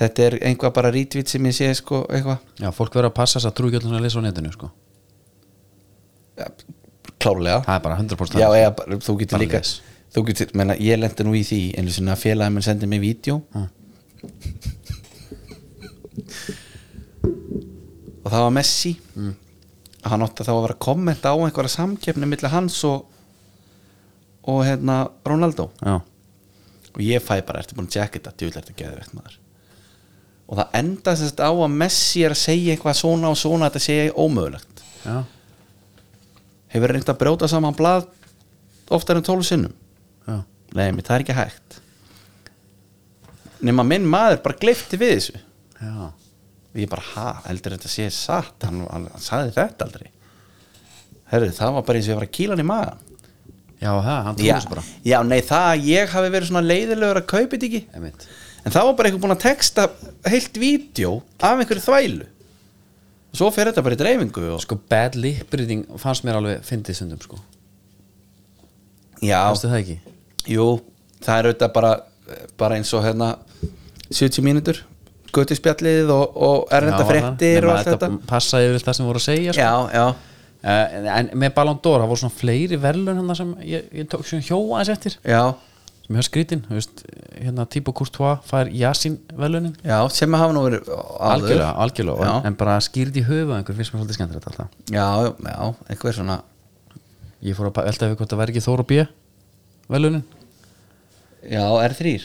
Speaker 2: Þetta er einhvað bara rítvít sem ég sé sko eitthvað
Speaker 1: Já, fólk verður að passa þess að trúgjöldun að lesa á netinu sko.
Speaker 2: Ja, klárlega
Speaker 1: Það er bara 100%
Speaker 2: Já, eða, bara- þú getur
Speaker 1: Bara
Speaker 2: líka
Speaker 1: les.
Speaker 2: þú getur, menna, ég lendi nú í því einu sinni að félagi minn sendi mig vídeo
Speaker 1: Hm.
Speaker 2: og það var Messi
Speaker 1: Mm.
Speaker 2: hann átti þá að vera að kommenta á einhverja samkeppni milli hans og og hérna Ronaldo
Speaker 1: Já.
Speaker 2: og ég fæ bara, ertu búin að tjekka þetta djúlega ertu geðvegt maður og það enda sem þetta á að Messi er að segja eitthvað svona og svona þetta segja ómögulegt
Speaker 1: Já.
Speaker 2: hefur reynt að brjóta saman blað oftar en tólu sinnum
Speaker 1: Já.
Speaker 2: nei, mér, það er ekki hægt nema minn maður bara gleifti við þessu
Speaker 1: Já.
Speaker 2: og ég bara, ha, heldur þetta sé satt hann, hann, hann sagði þetta aldrei herru, það var bara eins og ég var að kýla hann í magan
Speaker 1: Já, það, hann trúður
Speaker 2: já,
Speaker 1: þessu bara
Speaker 2: já, nei, það að ég hafi verið svona leiðilegur að kaupa þetta ekki
Speaker 1: Einmitt.
Speaker 2: en það var bara einhver búinn að texta heilt vídeo af einhverju þvælu og svo fer þetta bara í dreifingu og...
Speaker 1: Sko bad lip reading fannst mér alveg fyndið sundum sko
Speaker 2: já,
Speaker 1: Fannstu það ekki?
Speaker 2: jú það er auðvitað bara, bara eins og hérna 70 mínútur guttispjallið og, og erlenda
Speaker 1: Já,
Speaker 2: fréttir
Speaker 1: nema
Speaker 2: og allt þetta
Speaker 1: Passaði yfir það sem voru að segja sko.
Speaker 2: já, já,
Speaker 1: uh, En með Ballon d'Or, það voru svona fleiri verðlun hérna sem ég, ég tók sem hjóa aðeins eftir
Speaker 2: já,
Speaker 1: sem ég hef skrítin, þú veist hérna Tíbo Courtois fær Yasin verðlunin
Speaker 2: já sem hafa nú verið áður.
Speaker 1: Algjörlega, algjörlega,
Speaker 2: já,
Speaker 1: en bara skýrði í höfuð einhver finnst mér svolítið skemmtilegt alltaf
Speaker 2: já, já, einhver svona
Speaker 1: Ég fór að pa- velta yfir hvort það væri ekki Þóra B verðlunin
Speaker 2: já, R3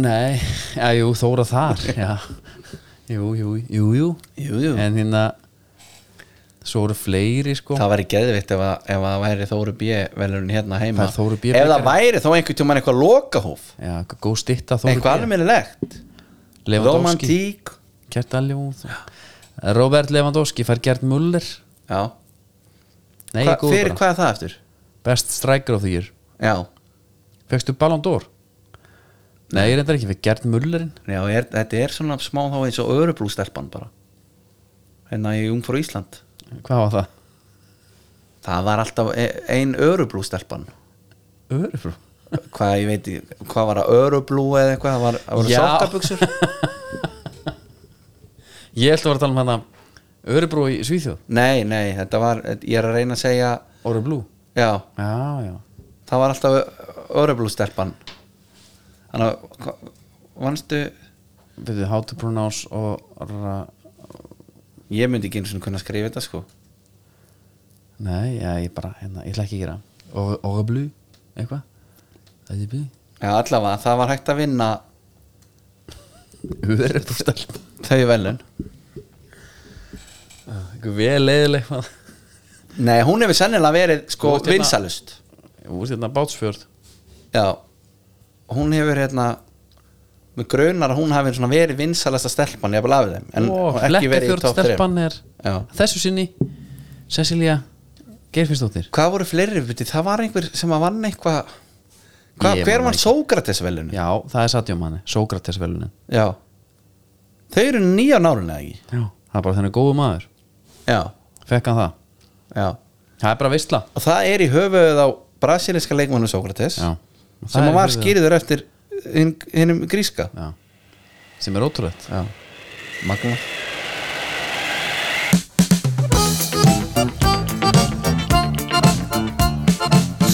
Speaker 1: Nei, já, jú, Þóra þar já. Jú, jú, jú, jú
Speaker 2: jú, jú,
Speaker 1: En hérna Svo eru fleiri sko
Speaker 2: það væri geðvitt ef, að- ef það væri Þóru B velurinn hérna heima
Speaker 1: Það er Þóru B.
Speaker 2: ef
Speaker 1: bikarinn.
Speaker 2: það væri þá einhvern tímann eitthvað lokahóf
Speaker 1: Já, góð stitta Þóra
Speaker 2: eitthvað alveg minnilegt
Speaker 1: Lewandowski
Speaker 2: romantík
Speaker 1: Kert Aljón Robert Lewandowski fær Gert Muller
Speaker 2: já.
Speaker 1: Nei,
Speaker 2: Hva,
Speaker 1: góð
Speaker 2: fyrir
Speaker 1: bara
Speaker 2: hvað er það eftir?
Speaker 1: Best striker of the year
Speaker 2: já,
Speaker 1: Fekstu Ballon d'Or? Nei, ég reyndar ekki fyrir Gert Mullerinn
Speaker 2: já er, þetta er svona smá þá eins og örubrústelpan bara hérna í Ungfrú Ísland
Speaker 1: Hvað var það?
Speaker 2: það var alltaf e- ein örubrústelpan
Speaker 1: Örufrú
Speaker 2: hvað ég veit, í- hvað var að örubrú eða eitthvað, það var, það var
Speaker 1: Já.
Speaker 2: sáttabuxur
Speaker 1: Ég ætla að vera að tala um hana Örufrú í Svíþjóð
Speaker 2: nei, nei, þetta var ég er að reyna að segja,
Speaker 1: Orru Blú
Speaker 2: já
Speaker 1: Já, já
Speaker 2: það var alltaf örubrústelpan þannig að hva- vannstu,
Speaker 1: Byrðu, How to pronounce og ra-
Speaker 2: ég myndi ekki einu svona kunna skrifa þetta sko
Speaker 1: Nei, já, ég bara, hérna, ég ætla ekki að gera Orru- Orru Blú, eitthvað Það er blú
Speaker 2: já, allavega, það var hægt að vinna
Speaker 1: Örufrú stelp
Speaker 2: þau velun
Speaker 1: Eitthvað vel leiðileg maður.
Speaker 2: Nei, hún hefur sennilega verið sko
Speaker 1: Þú ert hérna-
Speaker 2: vinsalust
Speaker 1: Þú veist hérna Bátsfjörð
Speaker 2: Já Hún hefur hérna Mér grunar að hún hafi svona verið vinsalasta stelpan Ég hafði lafið þeim En
Speaker 1: Og
Speaker 2: og ekki verið í
Speaker 1: Flekkafjörð
Speaker 2: top 3
Speaker 1: stelpan er
Speaker 2: Já.
Speaker 1: Þessu sinni Cecilia Geirfinnsdóttir
Speaker 2: Hvað voru fleiri buti? Það var einhver sem að vann eitthvað Hva,
Speaker 1: Ég
Speaker 2: Hver
Speaker 1: man
Speaker 2: vann Sókrates velunni?
Speaker 1: Já, það er Satjó manni, Sókrates velunin
Speaker 2: Já Þau eru nýja nárunni eða ekki?
Speaker 1: Já Það er bara þenni góðu maður
Speaker 2: Já,
Speaker 1: Fekk hann það
Speaker 2: já
Speaker 1: Það er bara veistla
Speaker 2: Og það er í höfuðið á brasilinska leikmannu Sókrates
Speaker 1: Já
Speaker 2: Sem að var skýriður eftir hinn- hinnum gríska
Speaker 1: Já Sem er ótrúlegt
Speaker 2: Já, magna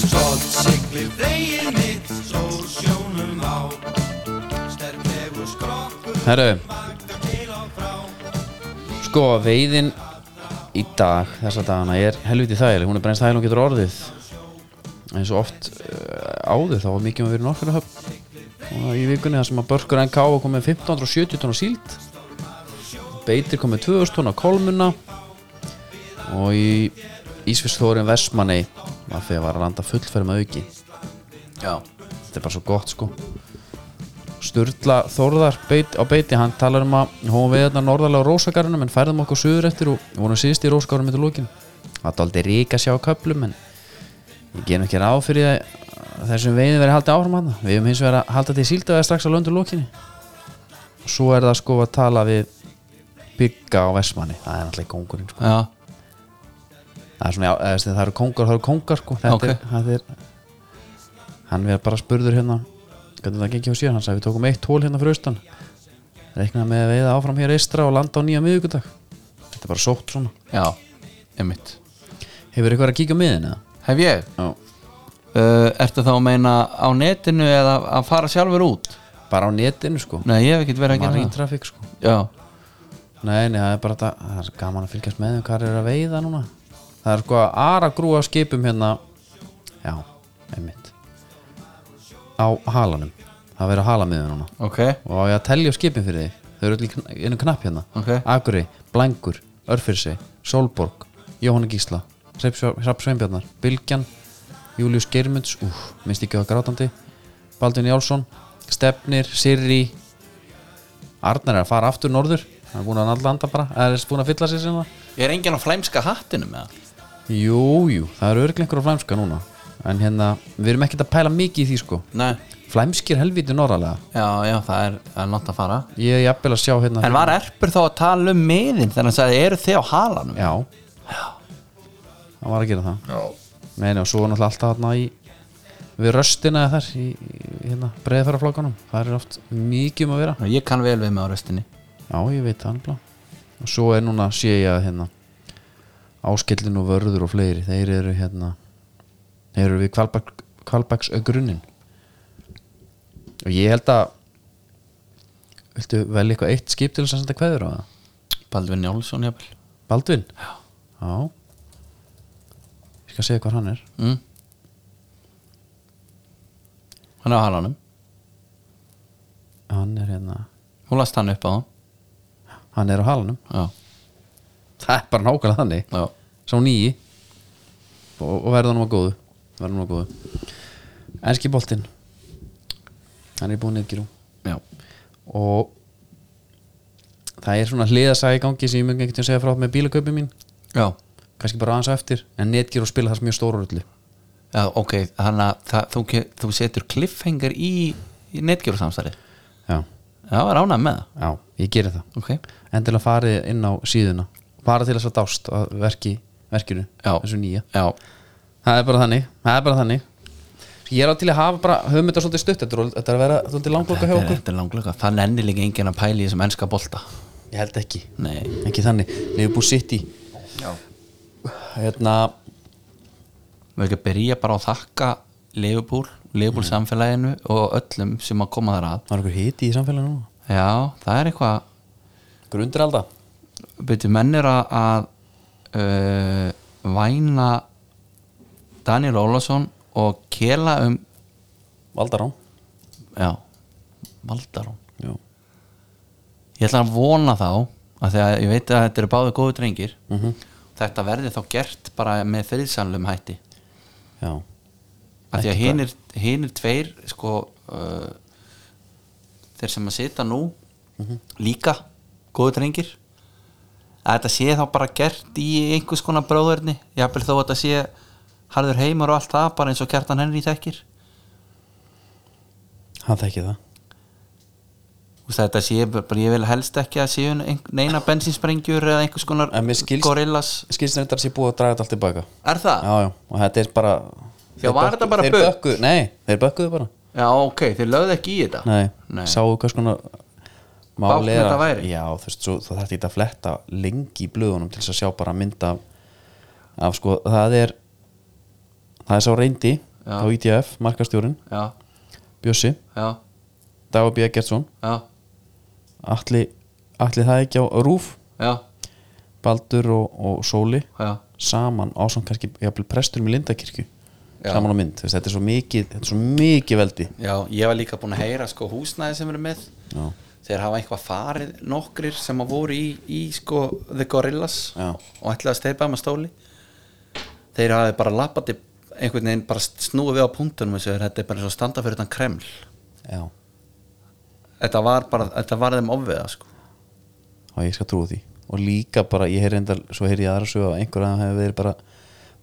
Speaker 4: Stolt siglir veginn mitt, sól sjónum á Sterklegur skrokkur,
Speaker 1: Herru,
Speaker 4: magna til og frá
Speaker 1: sko veiðin í dag Þessa dagana er helviti þægileg Hún er brennst þægileg og getur orðið eins og oft uh, áður þá var mikið um að vera nokkuna höfn og í vikunni það sem að börkur NK var komið 1570 tónn á síld beitir komið 2000 tónn á kolmuna og í Ísfisþórin Vestmanni var þegar var að landa fullferð með auki
Speaker 2: Já
Speaker 1: þetta er bara svo gott sko Sturla Þórðar beit, á beiti, hann talar um að hún við þetta norðarlega á rósagarunum en færðum okkur söður eftir og vorum síðst í rósagarunum eftir lókin það er aldrei rík að sjá köplum en Ég ger nú ekki ráð fyrir að þessum veiðum verið haldið áfram hann Við höfum hins vegar að halda til síldavega strax á löndu lókinni og svo er það sko að tala við bygga á Vestmanni það er náttúrulega kongurinn sko.
Speaker 2: Já,
Speaker 1: það, er svona, já, eða, veist, það eru kongar, það eru kongar sko. þetta
Speaker 2: Ókei.
Speaker 1: er, það er hann við bara spurður hérna hvernig það gengi á síðan, hann sagði við tókum eitt tól hérna fyrir austan reiknaði með að veiða áfram hér eistra og landa á nýja miðugudag þetta er bara sótt svona
Speaker 2: já, einmitt
Speaker 1: hefur eitthvað að kíka á miðin eða?
Speaker 2: Hef ég,
Speaker 1: Já.
Speaker 2: uh, ertu þá að meina á netinu eða að fara sjálfur út?
Speaker 1: bara á netinu sko
Speaker 2: Nei, ég hef ekkert verið að gera
Speaker 1: marinn
Speaker 2: það
Speaker 1: trafík sko
Speaker 2: Já,
Speaker 1: Nei, nei, það er bara þetta Það er gaman að fylgjast með þeim hvað þeir eru að veiða núna Það er sko að ara grúa skipum hérna Já, einmitt Á halanum Það verður á halamiðu núna
Speaker 2: ok,
Speaker 1: Og á ég að telja skipin fyrir því Þau eru öll í kn- í einu knapp hérna
Speaker 2: Ok.
Speaker 1: Akuri, Blængur, Örfyrsi, Solborg Jóhanna Gísla, Hrapp Sveinbjarnar Bilgjan, Július Geirmunds Úf, minnst ekki á það grátandi Baldvin Jálsson, Stefnir, Sirri Arnar er að fara aftur norður Hann er búin að landa bara, eða er búin að fylla sér sinna
Speaker 2: er enginn á flæmska hattinu með það?
Speaker 1: Jú, jú, það eru örglega einhver á flæmska núna En hérna, við erum ekkert að pæla mikið í því sko
Speaker 2: Nei,
Speaker 1: Flæmskir helviti norralega
Speaker 2: já, já, það er, það er nátt að fara
Speaker 1: Ég er jafnvel að sjá hérna
Speaker 2: En var erpur þá að tala um miðin þegar hann sagði, eru þið á halanum?
Speaker 1: Já Hann var að gera það Já Meina, og svo er náttúrulega alltaf hérna í við röstina þar í, í hérna, breiðfæraflokkanum það er oft mikið um að vera
Speaker 2: Ég kann vel við með á restinni
Speaker 1: Já, ég veit það nefnilega og svo er núna sé ég að hérna áskellin og vörður og fleiri þeir eru hérna þeir eru við Kvalbak, Kvalbaks grunnin og ég held að viltu velja eitthvað eitt skip til þess að senda kveður á það
Speaker 2: Baldvin Njálsson, jafnvel
Speaker 1: Baldvin? Já Ég skal segja hvað hann er
Speaker 2: mm. Hann er á halanum
Speaker 1: Hann er hérna
Speaker 2: Hún last hann upp á það
Speaker 1: Hann er á halanum
Speaker 2: Já,
Speaker 1: Það er bara nákvæmlega þannig
Speaker 2: já,
Speaker 1: Sá nýji Og, og verða hann að góðu Verða hann að góðu Enski boltinn Hann er búin yfir
Speaker 2: já
Speaker 1: Og Það er svona hliðasæði gangi sem ég mjög ekkert að segja frá með bílaköpi mín
Speaker 2: Já,
Speaker 1: kannski bara aðeins á eftir en netgir og spila það mjög stóru rullu
Speaker 2: já ok, hann að það- þú, ke- þú setur cliffhanger í, í netgjörusamstari
Speaker 1: Já,
Speaker 2: Já, er ánægð með það
Speaker 1: já, ég geri það
Speaker 2: Ok,
Speaker 1: endilega farið inn á síðuna bara til þess að dást að verki, verkinu
Speaker 2: Já.
Speaker 1: þessu nýja,
Speaker 2: já,
Speaker 1: það er bara þannig það er bara þannig ég er á til að hafa bara, höfum þetta svolítið stutt þetta er, þetta er að vera svolítið langloka hjá
Speaker 2: þetta er,
Speaker 1: okkur
Speaker 2: þetta er langlega Það nenni líka enginn að pæla í þessum enska bolta
Speaker 1: ég held ekki,
Speaker 2: Nei,
Speaker 1: ekki þannig Liverpool City
Speaker 2: Já.
Speaker 1: hérna,
Speaker 2: við ekki að byrja bara á að þakka Leifupúl, Leifupúl samfélaginu og öllum sem að koma þar að
Speaker 1: það er einhver hiti í samfélaginu núna
Speaker 2: Já, það er eitthvað
Speaker 1: einhver undiralda
Speaker 2: Byrju, menn er að, að uh, væna Daniel Ólason og kela um
Speaker 1: Valdarán
Speaker 2: já, Valdarón
Speaker 1: Já.
Speaker 2: Ég ætla að vona þá að því að ég veit að þetta eru báðu góðu drengir þetta verði þá gert bara með friðsanlum hætti
Speaker 1: Já.
Speaker 2: að því að hinir, hinir tveir sko uh, þeir sem að sita nú
Speaker 1: Mhm.
Speaker 2: líka góðu drengir að þetta sé þá bara gert í einhvers konar bróðurni jafnvel þó að þetta sé harður heimur og allt það bara eins og kjartan henni þekkir
Speaker 1: hann þekki það
Speaker 2: Þú veist, þetta sé bara ég vil helst ekki að séu ein- neina bensinsprengjur eða einhvers konar
Speaker 1: En mér skilst-
Speaker 2: gorillas
Speaker 1: skilst þetta að sé búið að draga þetta allt tilbaka
Speaker 2: er það?
Speaker 1: já, já, og þetta er bara
Speaker 2: Já,
Speaker 1: þeir
Speaker 2: var
Speaker 1: bökku-
Speaker 2: þetta bara
Speaker 1: þeir
Speaker 2: bögg?
Speaker 1: bökkuðu- nei, þeir bökkuðu bara
Speaker 2: Já, ok, þeir lögðu ekki í þetta
Speaker 1: Nei,
Speaker 2: Nei.
Speaker 1: sáu hvers konar máli
Speaker 2: Bákn
Speaker 1: er að-
Speaker 2: þetta væri.
Speaker 1: Já, þú veist, svo, það þarf þetta að fletta lengi í blöðunum til þess að sjá bara mynd af, af sko, það er það er sá reyndi
Speaker 2: Já.
Speaker 1: á ITF, markastjórinn,
Speaker 2: Já,
Speaker 1: Bjössi
Speaker 2: já,
Speaker 1: Dagur B. Gertsson,
Speaker 2: já,
Speaker 1: Atli Atli það ekki á Rúf,
Speaker 2: já,
Speaker 1: Baldur og, og Sóli
Speaker 2: já
Speaker 1: saman á svona kannski, jafnvel prestur með Lindakirkju
Speaker 2: Já.
Speaker 1: saman á mynd, þú veist, þetta er svo mikið þetta er svo mikið veldi
Speaker 2: Já, ég var líka búin að heyra sko húsnæði sem eru með
Speaker 1: Já,
Speaker 2: Þeir hafa eitthvað farið nokkrir sem að voru í, í sko The Gorillas
Speaker 1: Já.
Speaker 2: og ætlaði að steipa um að stóli Þeir hafi bara lappati einhvern veginn bara snúið við á punktunum þessu þetta er bara eins og standa fyrir þann kreml
Speaker 1: já,
Speaker 2: Þetta var bara, þetta var þeim ofveða sko
Speaker 1: og ég skal trúa því og líka bara, ég heyr reyndar, svo heyr ég aðra sögu að einhver að það hefur verið bara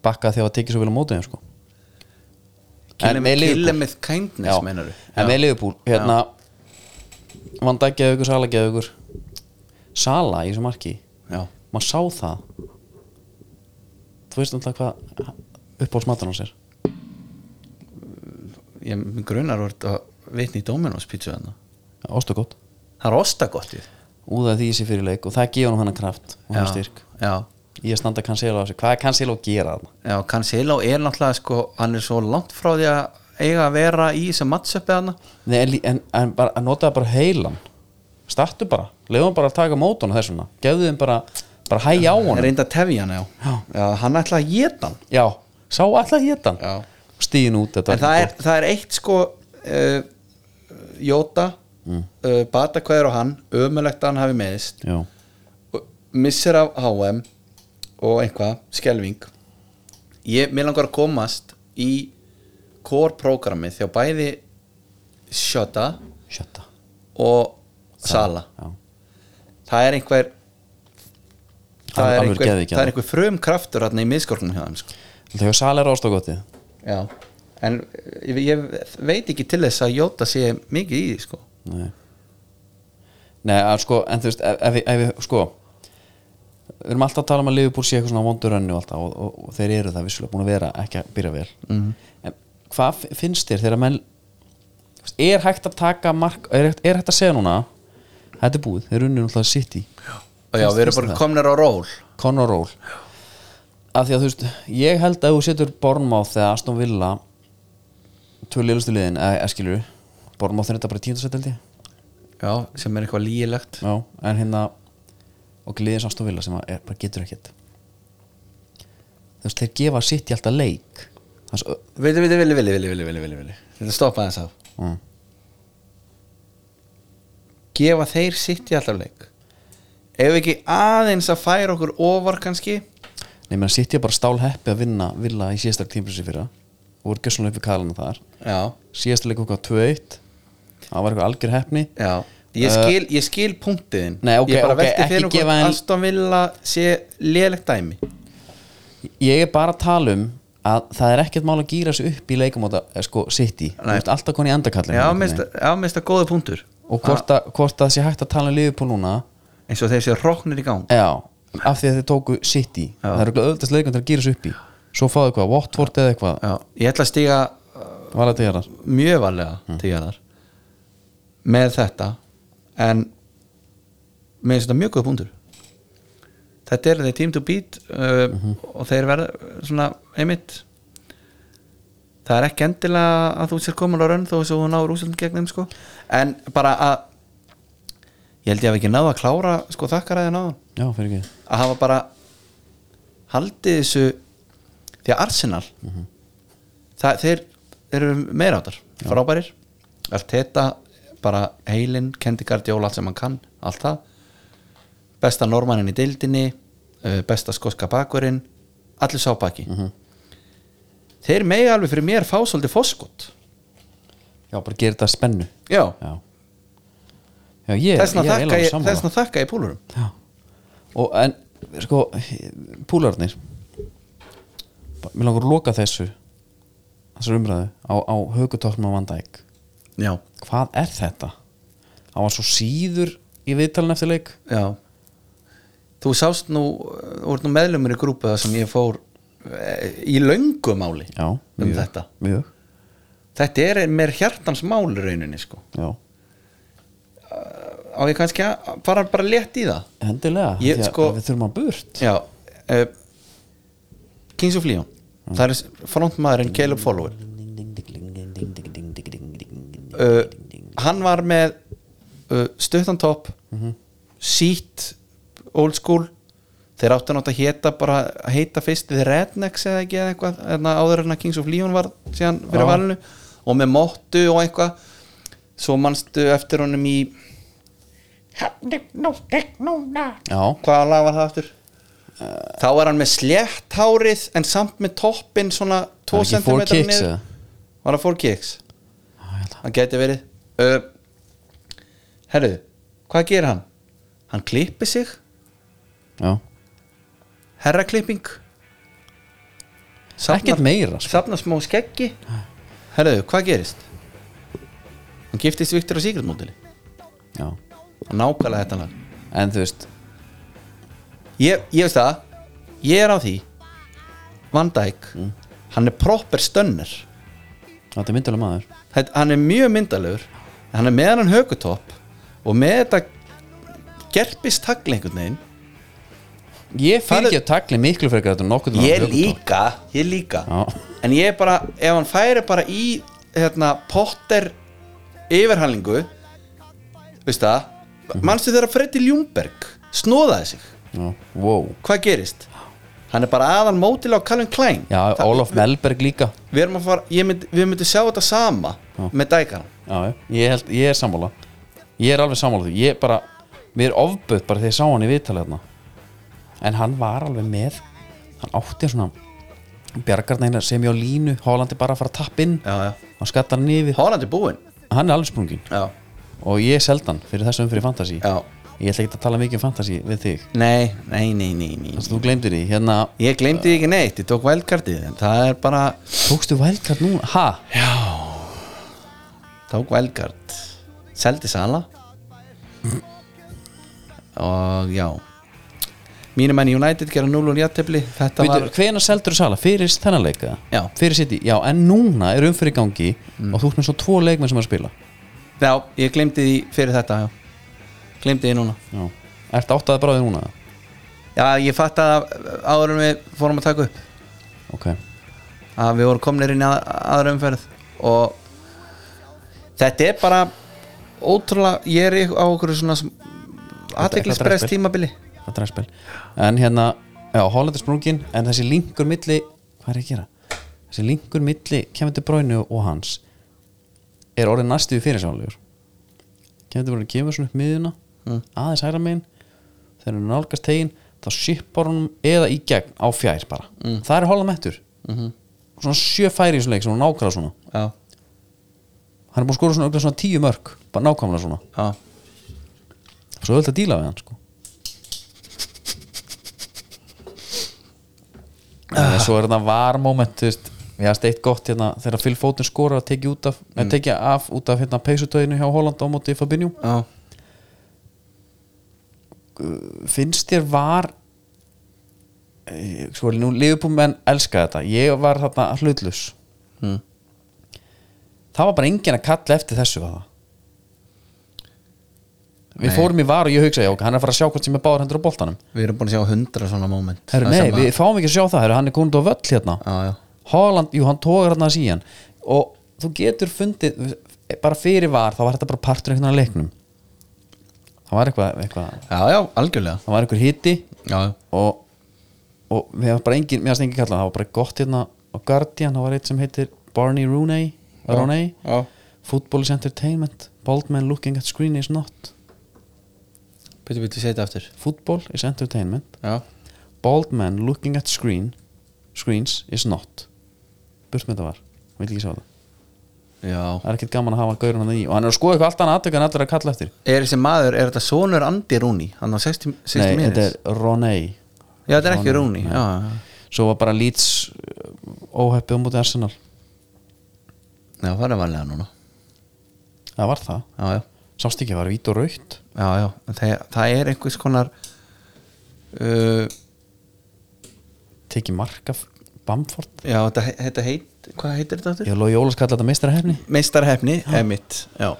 Speaker 1: bakkað þegar það tekið svo vel á mótum sko.
Speaker 2: Kill
Speaker 1: En
Speaker 2: em-
Speaker 1: með
Speaker 2: Kill
Speaker 1: Liverpool-
Speaker 2: em with kindness
Speaker 1: Já.
Speaker 2: meinar
Speaker 1: En með Liverpool, hérna Van Dijk geða ykkur, Sala geða ykkur Sala í þessu marki
Speaker 2: Já,
Speaker 1: maður sá það þú veist alltaf hvað uppáhaldsmatan hans er
Speaker 2: ég mig grunar úr að vitni í Dominos pítsu þarna
Speaker 1: ástu gott
Speaker 2: Það er ostagottið
Speaker 1: úðað því sér fyrir leik og það gefur hann hennar kraft og hann
Speaker 2: Já,
Speaker 1: styrk
Speaker 2: Já,
Speaker 1: í að standa Cancelo á sig hvað er Cancelo að gera þarna
Speaker 2: já Cancelo er náttúrulega sko, hann er svo langt frá því að eiga að vera í þessu mattsöppi þarna
Speaker 1: Nei, en, lí- en, en bara, að nota bara heilan startu bara, leiðum bara að taka mótun þess vegna, gefðu þeim bara bara hægja á
Speaker 2: Er
Speaker 1: honum
Speaker 2: reynda að tefja hann, já.
Speaker 1: Já.
Speaker 2: Hann ætla að geta hann
Speaker 1: já, sá alltaf hétan
Speaker 2: Já.
Speaker 1: stíðin út þetta
Speaker 2: En það er, það er eitt sko uh, Jóta mm. uh, Bata hvaður á hann Ömulegt að hann hafi meðist
Speaker 1: já,
Speaker 2: Og Missir af HM Og einhvað, skelving Ég, mér langar að komast Í core programmið Þjá bæði Sjöta
Speaker 1: sjötta
Speaker 2: og Sala
Speaker 1: já.
Speaker 2: Það er einhver Það er
Speaker 1: Alveg
Speaker 2: einhver,
Speaker 1: geðveikja.
Speaker 2: það er einhver frum kraftur Þarna í miðskornum hjá þeim sko
Speaker 1: þegar Sala er ástu gottið
Speaker 2: Já, en ég, ég veit ekki til þess að Jóta sé mikið í því sko
Speaker 1: Nei Nei, að sko, en þú veist ef, ef, við- ef við, sko við erum alltaf að tala um að Liverpool sé eitthvað svona vondurönni og alltaf og, og, og þeir eru það vissulega búin að vera ekki að byrja vel -hmm. en hvað fi- finnst þér þegar menn þú veist, er hægt að taka mark er, hægt- er hægt að segja núna þetta er búið, þeir eru unnið náttúrulega City
Speaker 2: Og já,
Speaker 1: Finnst-
Speaker 2: við erum
Speaker 1: finnst
Speaker 2: bara
Speaker 1: það?
Speaker 2: komnir á ról
Speaker 1: Conor Roll af því að þú veist, ég held að ef þú setur Bornmáð eða Aston Villa tvö liðlustu liðin, eða eða skilur Bornmáð er þetta bara tíundasett held ég
Speaker 2: Já, sem er eitthvað lýjilegt
Speaker 1: Já, en hérna og gliðin sást og vilja sem að er, bara getur ekkert þú veist, þeir gefa sitt í alltaf leik Þess,
Speaker 2: Vili, vili, vili, vili, vili, vili, vili, vili, vili Þetta stoppa þess af
Speaker 1: mm.
Speaker 2: Gefa þeir sitt í allar leik Ef við ekki aðeins að færa okkur ofar kannski
Speaker 1: Nei, menn sitt ég bara stál heppi að vinna vilja í síðasta tímplissi fyrra og voru gjössanlega upp við kalana þar
Speaker 2: Já,
Speaker 1: síðasta leik okkar 2-1 það var eitthvað algjör heppni
Speaker 2: já Ég skil, ég skil punktiðin
Speaker 1: Nei, ok,
Speaker 2: Ég bara
Speaker 1: ok,
Speaker 2: velti
Speaker 1: ekki
Speaker 2: fyrir okkur
Speaker 1: gefa en-
Speaker 2: Aston Villa sé lýjilegt dæmi
Speaker 1: ég er bara að tala um að það er ekkert mál að gýra sig upp í leikamóta eh, sko, City, þú
Speaker 2: Nei.
Speaker 1: veist alltaf koni endakallin
Speaker 2: Já, mér finnst- já, mér finnst það góði punktur
Speaker 1: og hvort, að, hvort að sé hægt að tala um Liverpool núna
Speaker 2: Eins og þeir sé roknir í gang
Speaker 1: Já, af því að þeir tóku City
Speaker 2: Já.
Speaker 1: Það eru auðvitað sleikum til að gýra sig upp í Svo fáðu eitthvað, Watford eða eitthvað
Speaker 2: Já, ég ætla að stíga
Speaker 1: Var þetta hérar?
Speaker 2: mjög varlega mm. tíðanar með þetta en með þetta mjög góð punktur þetta er þeir team to beat uh, og þeir verða svona einmitt það er ekki endilega að þú sér komin á raun þó þess að þú náður úsöldum gegn þeim sko en bara að ég held ég að við ekki náða að klára sko þakkaræðin á það
Speaker 1: Já, fyrir ekki
Speaker 2: að hafa bara haldið þessu því að Arsenal
Speaker 1: Mhm.
Speaker 2: það, þeir, þeir eru meira áttar frábærir, allt þetta bara heilinn, kendi gardjóla allt sem hann kann, allt það besta normannin í deildinni eh, besta skoska bakurinn allir sá baki
Speaker 1: Mhm.
Speaker 2: þeir megi alveg fyrir mér fá svolítið fóskot
Speaker 1: Já, bara gera þetta spennu
Speaker 2: já,
Speaker 1: Já Já, ég,
Speaker 2: þessna
Speaker 1: ég er
Speaker 2: þakka
Speaker 1: eiginlega
Speaker 2: ég,
Speaker 1: sammála
Speaker 2: þessna þakka ég púlurum
Speaker 1: Já Og en, sko, púlarnir Bara- Mér langar að loka þessu Þessar umræðu á, á högutóknum á Van Dijk
Speaker 2: já,
Speaker 1: Hvað er þetta? Það var svo síður í viðtalin eftir leik
Speaker 2: Já Þú sást nú, uh, þú ert nú meðlumur í grúpu það sem ég fór eh, í löngu máli
Speaker 1: Já,
Speaker 2: um þetta
Speaker 1: Mjög,
Speaker 2: Þetta er mér hjartans mál í rauninni sko
Speaker 1: já
Speaker 2: Á ég kannski að fara bara létt í það
Speaker 1: Hendilega,
Speaker 2: Ég,
Speaker 1: ég, sko,
Speaker 2: sko-
Speaker 1: við þurfum að burt
Speaker 2: Já uh, Kings of Leon Það er frontmaðurinn Caleb Follower uh, Hann var með uh, stuttan topp sítt old school þeir áttu náttúrulega að heta bara að heita fyrst þið Rednecks eða ekki eða eitthvað eðna, áður en að Kings of Leon var síðan fyrir
Speaker 1: Já.
Speaker 2: valinu og með mottu og eitthvað svo manstu eftir honum í
Speaker 1: Já,
Speaker 2: hvaða lag var það aftur þá er hann með slétt hárið en samt með toppin svona 2
Speaker 1: Var það
Speaker 2: cm
Speaker 1: ekki 4 Kicks
Speaker 2: niður
Speaker 1: eða?
Speaker 2: var það 4 kicks
Speaker 1: ég held
Speaker 2: það geti verið uh, herru, hvað gerir hann? hann klippir sig,
Speaker 1: já
Speaker 2: herraklipping
Speaker 1: Ekkert meira, sko.
Speaker 2: safna smá skeggi Herðu, hvað gerist? Hann giftist Viktor á Sigurdmótili
Speaker 1: já.
Speaker 2: Nákvæmlega þetta lag
Speaker 1: en þú veist
Speaker 2: Ég, ég veist það, ég er á því Van Dijk
Speaker 1: Mm.
Speaker 2: Hann er proper stönner
Speaker 1: þetta er myndulega maður
Speaker 2: Þetta- Hann er mjög myndalegur Hann er með hann högutopp Og með þetta gerpist tagli einhvern veginn
Speaker 1: ég
Speaker 2: Það er-
Speaker 1: fylgja tagli miklu frekar þetta nokkuð
Speaker 2: Ég líka, ég líka
Speaker 1: Já.
Speaker 2: En ég er bara, ef hann færi bara í hérna, Potter yfirhalningu veist það
Speaker 1: Mhm.
Speaker 2: manstu þegar Freddy Ljungberg snóðaði sig,
Speaker 1: já, wow.
Speaker 2: hvað gerist? Hann er bara aðan mótil á Calvin Klein
Speaker 1: já
Speaker 2: Það-
Speaker 1: Ólaf Melberg líka
Speaker 2: Við erum að fara, ég mynd, við myndum sjá þetta sama
Speaker 1: Já.
Speaker 2: með dækaran
Speaker 1: já, já. ég, held, ég er sammála ég er alveg sammála því ég bara, mér er ofböð bara þegar ég sá hann í viðtalið hérna en hann var alveg með hann átti svona bjargarnægna sem ég á línu, Hálandi bara að fara að tappa inn
Speaker 2: Já, já.
Speaker 1: hann skattar hann yfir
Speaker 2: Holland er búinn
Speaker 1: hann er alveg sprungin
Speaker 2: Já,
Speaker 1: og ég seldi hann fyrir þessu umfyrir fantasi
Speaker 2: já
Speaker 1: ég ætla ekki að tala mikið um fantasi við þig
Speaker 2: Nei, nei, nei, nei, nei
Speaker 1: þannig að þú glemdir því, hérna
Speaker 2: Ég glemdi því ekki neitt, ég tók vældkartið en það er bara,
Speaker 1: tókstu vælkart núna, ha?
Speaker 2: tók vældkart Seldi sala Og já Mínum enn United gera 0 og jættefli Þetta
Speaker 1: Býtu,
Speaker 2: var,
Speaker 1: hvena seldur þú sala? Fyrir þennanleika?
Speaker 2: Já. Mm.
Speaker 1: Fyrir sitt já, en núna er umfyrir gangi og þú ert með svo tvo leikmenn sem er að spila
Speaker 2: já, ég glemdi því fyrir þetta já. Glemdi því núna
Speaker 1: Já. Ertu áttaði bara á því núna?
Speaker 2: Já, ég fatt að áður en við fórum að taka upp
Speaker 1: Ok,
Speaker 2: að við vorum komnir inn í að, aðra umferð og þetta er bara ótrúlega, ég er í- á okkur svona
Speaker 1: þetta
Speaker 2: aðteglisprest
Speaker 1: er-
Speaker 2: tímabili
Speaker 1: þetta er að spil En hérna, já, Hollander sprungin en þessi linkur milli, hvað er ég að gera? Þessi linkur milli kemur til bráinu og hans er orðið næstu fyrir sálegur Kemur til bráinu kemur svona upp miðuna aðeins hæra megin þegar hann nálgast tegin þá shippar honum eða í gegn á fjær bara Það er Holland mettur -hmm. Svona sjö færi í svona leik sem hún nákvæmlega svona
Speaker 2: já,
Speaker 1: Hann er búin að skora svona, örugglega svona tíu mörk bara nákvæmlega svona
Speaker 2: já,
Speaker 1: Svo öll að díla við hann sko En Eh, svo er þetta varmoment þú veist, ég hafði eitt gott hérna þegar Phil Foden skorar að tekja út af mm. tekja af út af hérna peysutöginu hjá Holland á móti Fabinho
Speaker 2: já.
Speaker 1: finnst þér var eh, svo nú Liverpool menn elska þetta ég var þarna hlutlus
Speaker 2: Mm.
Speaker 1: það var bara enginn að kalla eftir þessu var það Við
Speaker 2: Nei.
Speaker 1: fórum í var og ég hugsaði, já, ok, hann er að fara að sjá hvort sem er báður hendur á boltanum
Speaker 2: við erum búin að sjá hundra svona moment
Speaker 1: Herru,
Speaker 2: Það
Speaker 1: nei,
Speaker 2: sem að-
Speaker 1: við fáum ekki að sjá það, herru, hann er komið á völl hérna
Speaker 2: Já, já.
Speaker 1: Haaland, jú, hann tókar hann að síðan og þú getur fundið bara fyrir var, þá var þetta bara partur einhvern veginn að leiknum það var eitthvað, eitthvað
Speaker 2: já, já, algjörlega
Speaker 1: það var einhver hiti
Speaker 2: já, já.
Speaker 1: og, og við hafum bara engin, mér hafst engin kallað það var bara gott hérna á Guardian, það var eitt sem heitir Barney Rooney, Rooney
Speaker 2: já.
Speaker 1: Football is entertainment Bald man looking at screen is not
Speaker 2: Býtu, býtu, segja þetta aftur
Speaker 1: Football is entertainment
Speaker 2: já,
Speaker 1: bald man looking at screen screens is not burt með það var, hann vil ekki sjá það
Speaker 2: já
Speaker 1: það er ekkert gaman að hafa gaurun hann í og hann er að skoða eitthvað allt annað aðtöku en allir að kalla eftir
Speaker 2: er þessi maður, er þetta sonur Andi Rúni hann á 60, 60
Speaker 1: nei,
Speaker 2: minutes
Speaker 1: þetta er Roney
Speaker 2: já, þetta er ekki Rúni já, já,
Speaker 1: svo var bara Leeds uh, óheppið á móti Arsenal
Speaker 2: já, það er varlega núna
Speaker 1: það var það,
Speaker 2: já, já
Speaker 1: sást ekki að var vít og raukt
Speaker 2: já, já, en það, það er einhvers konar uh,
Speaker 1: tekið marka f- Bamford
Speaker 2: já, þetta, he- þetta heit hvað heitir þetta aftur?
Speaker 1: ég loði Jólas kalla þetta meistarahefni
Speaker 2: meistarhefni, emitt já,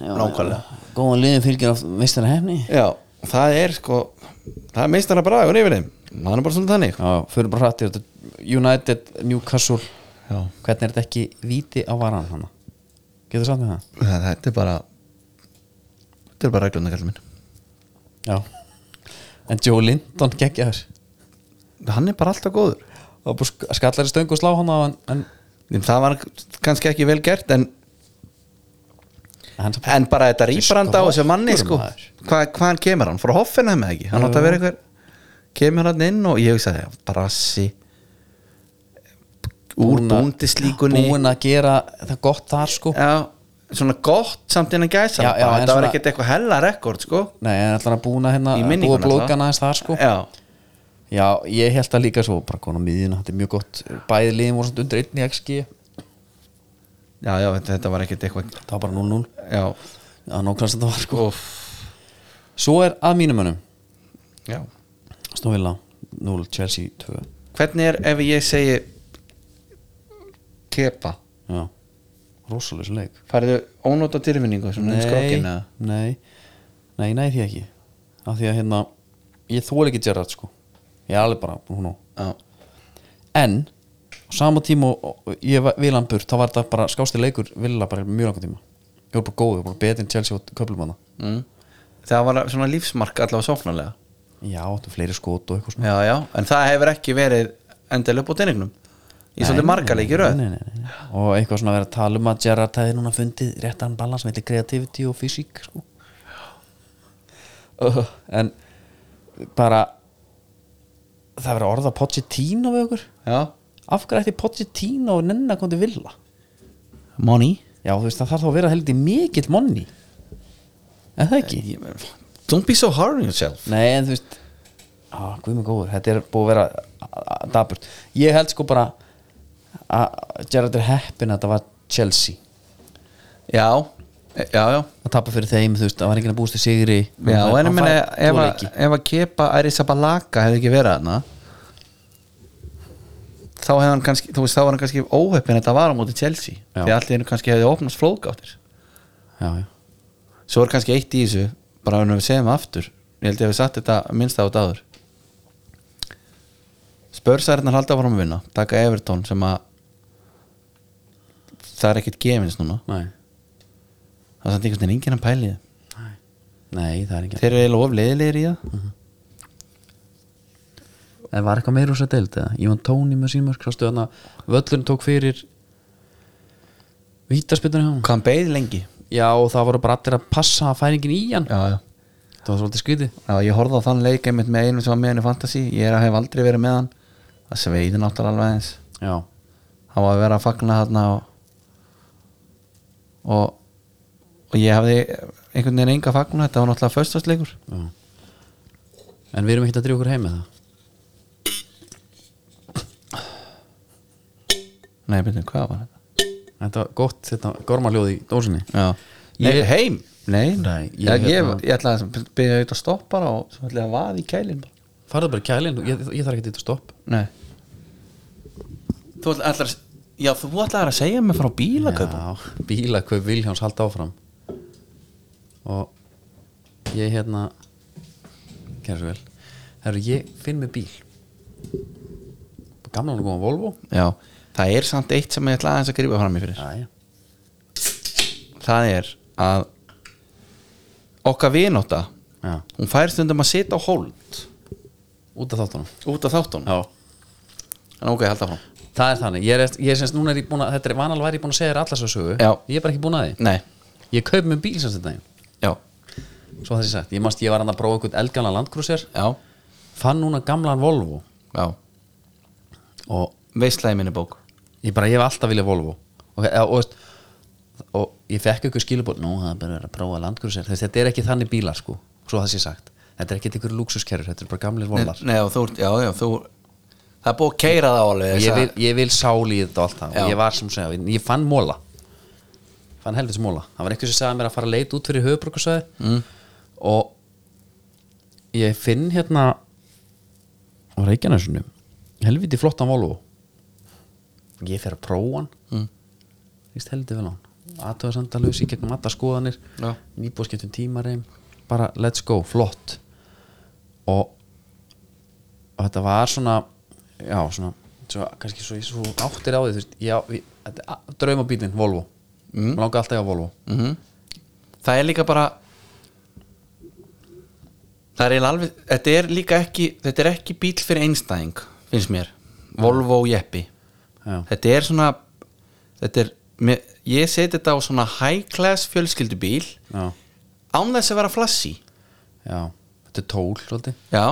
Speaker 2: nákvæmlega
Speaker 1: góðan liðin fylgir af meistarahefni
Speaker 2: já, og það er sko það er meistara bragur yfir þeim það er bara svona þannig
Speaker 1: já, fyrir bara hrættir United, Newcastle
Speaker 2: já.
Speaker 1: hvernig er þetta ekki víti á varan hana getur sagt með það?
Speaker 2: Það- þetta er bara þetta er bara regluna kallum minn
Speaker 1: já en Joe Linton geggjaður
Speaker 2: hann er bara alltaf góður
Speaker 1: og bara sk- skallar í stöngu og slá hana en, en
Speaker 2: Þeim, það var kannski ekki vel gert en,
Speaker 1: hann samt-
Speaker 2: en bara þetta rýbranda á þessu manni sko.
Speaker 1: Skrokkur, maður.
Speaker 2: Hva, hvaðan kemur hann? frá Hoffenheim eða ekki? hann átt að vera einhver kemur hann inn og ég hugsaði brassi úr
Speaker 1: Búinn að-
Speaker 2: búndislíkunni
Speaker 1: búinn að gera það gott þar sko
Speaker 2: já, svona gott samt innan gæsa
Speaker 1: Já, já, en
Speaker 2: þetta var
Speaker 1: svona-
Speaker 2: ekkert eitthvað hella rekord sko
Speaker 1: nei, en ætlar að búna hérna
Speaker 2: Í
Speaker 1: að
Speaker 2: minningunni
Speaker 1: búa blókan
Speaker 2: alltaf.
Speaker 1: aðeins þar sko
Speaker 2: já,
Speaker 1: já, ég held það líka svo bara konu á miðjuna, þetta er mjög gott bæði liðin voru svona undir einni XG
Speaker 2: já, já, þetta, þetta var ekkert eitthvað
Speaker 1: það var bara 0-0
Speaker 2: já,
Speaker 1: Já, nákvæmst þetta var sko
Speaker 2: uff
Speaker 1: Svo er að mínum önum
Speaker 2: já.
Speaker 1: Stóvilla 0, Chelsea 2
Speaker 2: hvernig er ef ég segi kepa
Speaker 1: Já, rosalega leik
Speaker 2: færðu ónóta tilfinningu sem hún skrokkinn eða?
Speaker 1: nei, nei, nei því ekki Af því að hérna, ég þóla ekki Gerrard sko Ég er alveg bara, hún á
Speaker 2: já,
Speaker 1: En, á sama tíma og og ég var- vil hann burt Þá var þetta bara skásti leikur Villa bara í mjög langan tíma Ég var bara góð, ég var bara betri en Chelsea og köplum hana
Speaker 2: mm. það var svona lífsmark allavega sóknarlega
Speaker 1: Já, áttu fleiri skot og eitthvað svona
Speaker 2: já, já, en það hefur ekki verið endel upp á teiningnum í svolítið margarleiki röð
Speaker 1: Nei, nei, nei, nei. og eitthvað svona að vera að tala um að Gerrard hefði núna fundið réttan balans mellir kreativiti og fysík sko.
Speaker 2: Uh-huh.
Speaker 1: uh, en bara það verið að orða Pochettino við okkur
Speaker 2: já,
Speaker 1: af hverju ætti Pochettino og nenni að koma til Villa
Speaker 2: money
Speaker 1: já þú veist það þarf þá að vera heldur mikill monni en það ekki
Speaker 2: don't be so hard on yourself
Speaker 1: nei en þú veist á, guð mig góður, þetta er búið að vera a- a- dapurt, ég held sko bara að Gerrard er heppin að þetta var Chelsea
Speaker 2: já, e- já, já
Speaker 1: að tapa fyrir þeim, þú veist, það var enginn að búast til sigri
Speaker 2: Já,
Speaker 1: Hann
Speaker 2: en ég
Speaker 1: fær tvo
Speaker 2: meina ef, að-
Speaker 1: leiki.
Speaker 2: ef að kepa Arisabalaka hefði ekki verið hana þá hefði hann kannski þú veist, þá var hann kannski óheppin að þetta var á móti Chelsea
Speaker 1: Já.
Speaker 2: því allir kannski hefði opnast flóðgáttir
Speaker 1: já, já,
Speaker 2: svo er kannski eitt í þessu bara ef við segjum aftur ég held ég hefði satt þetta minnst á þetta áður spörsærinar halda áfram að vinna taka Everton sem að það er ekkert gefins núna
Speaker 1: nei
Speaker 2: það er samt einhvern veginn enginn að pæli þið
Speaker 1: nei, það er enginn
Speaker 2: þeir eru eiginlega of leiðilegir í það
Speaker 1: en var eitthvað meira úr þess að deild eða Ívan Tóni með símörk, sástu hann að völlurinn tók fyrir vítaspildur hjá hann
Speaker 2: hvað hann beið lengi
Speaker 1: já, og það voru bara allir að passa færingin í hann
Speaker 2: já, já
Speaker 1: það var svolítið skrítið
Speaker 2: Já, ég horfði á þann leik einmitt með einu sem var með henni fantasy ég er að hef aldrei verið með hann það sveiði náttúrulega alveg eins
Speaker 1: já,
Speaker 2: hann var að vera að fagna þarna og og, og ég hafði einhvern veginn enga fagna þetta var náttúrulega föstasleikur
Speaker 1: en við erum ekkert að drífa okkur heim með það
Speaker 2: nei, betur, hvað var þetta?
Speaker 1: þetta var gott, þetta gormaljóð í dósinni
Speaker 2: Já, nei,
Speaker 1: Ég-
Speaker 2: heim nei,
Speaker 1: Nei, ég-
Speaker 2: ég, hérna- ég, ég, ætla að byrja auðvitað að stoppa bara og svo ætla ég að vaða í kælin bara.
Speaker 1: farðu bara í kælinn, ég, ég þarf ekki þetta stopp
Speaker 2: nei þú ætlar að já, þú ætlar að segja mig frá bílaköpum
Speaker 1: Já, bílakaup Vilhjáns halda áfram og ég hérna gerðu svo vel Herru, ég finn mér bíl gamla hún góðan Volvo
Speaker 2: já, það er samt eitt sem ég ætla aðeins að grípa fram í fyrir
Speaker 1: já, já.
Speaker 2: það er að okkar vinóta
Speaker 1: já,
Speaker 2: hún fær stundum að sitja á hold
Speaker 1: út af þáttunum
Speaker 2: út af þáttunum
Speaker 1: já.
Speaker 2: en ok, halda frá
Speaker 1: það er þannig, ég er, ég er semst núna er ég búin að þetta er vanalega væri ég búin að segja þér allas að sögu
Speaker 2: Já.
Speaker 1: ég er bara ekki búin að því,
Speaker 2: nei,
Speaker 1: ég kaup mér bíl semst þetta daginn.
Speaker 2: já,
Speaker 1: svo þessi sagt, ég manst ég var hann að prófa einhvern eldgamla landkrúsir
Speaker 2: já,
Speaker 1: fann núna gamlan Volvo
Speaker 2: já
Speaker 1: og
Speaker 2: veistlega í minni bók
Speaker 1: ég bara, ég hef alltaf viljað Volvo og, og, og, veist, og ég fekk ykkur skilabóð nú, það er bara verið að prófa landgrúsir Þess, þetta er ekki þannig bílar sko, svo það sé sagt þetta er ekki ykkur lúksuskerfur, þetta er bara gamlir
Speaker 2: nei,
Speaker 1: volar
Speaker 2: nei, og þú, ert- já, já, þú það er búið að keira það alveg
Speaker 1: ég,
Speaker 2: þessa-
Speaker 1: vil- ég vil sáli í þetta og allt það
Speaker 2: Já.
Speaker 1: og ég var sem segja, ég fann móla fann helvits móla, það var eitthvað sem sagði mér að fara að leita út fyrir höfubrukarsvæði mm. og ég finn hérna á Reykjanesunum helviti flottan Volvo ég fer að prófa hann mm. líst helviti vel á hann aðtöða samtalus í gegnum alla skoðanir
Speaker 2: Já.
Speaker 1: nýbúðskiptum tímareim um bara let's go, flott og og þetta var svona já, svona, svo, kannski svo, svo áttir á því, þú veist, já, við, þetta er a- draumabílinn, Volvo mm. langa alltaf á Volvo
Speaker 2: það er líka bara það er eiginlega alveg þetta er líka ekki, þetta er ekki bíl fyrir einstæðing, finnst mér Volvo og Jeppi
Speaker 1: Já.
Speaker 2: þetta er svona þetta er, mér, ég seti þetta á svona high class fjölskyldubíl
Speaker 1: já,
Speaker 2: án þess að vera flassi
Speaker 1: já, þetta er tól svolítið.
Speaker 2: já,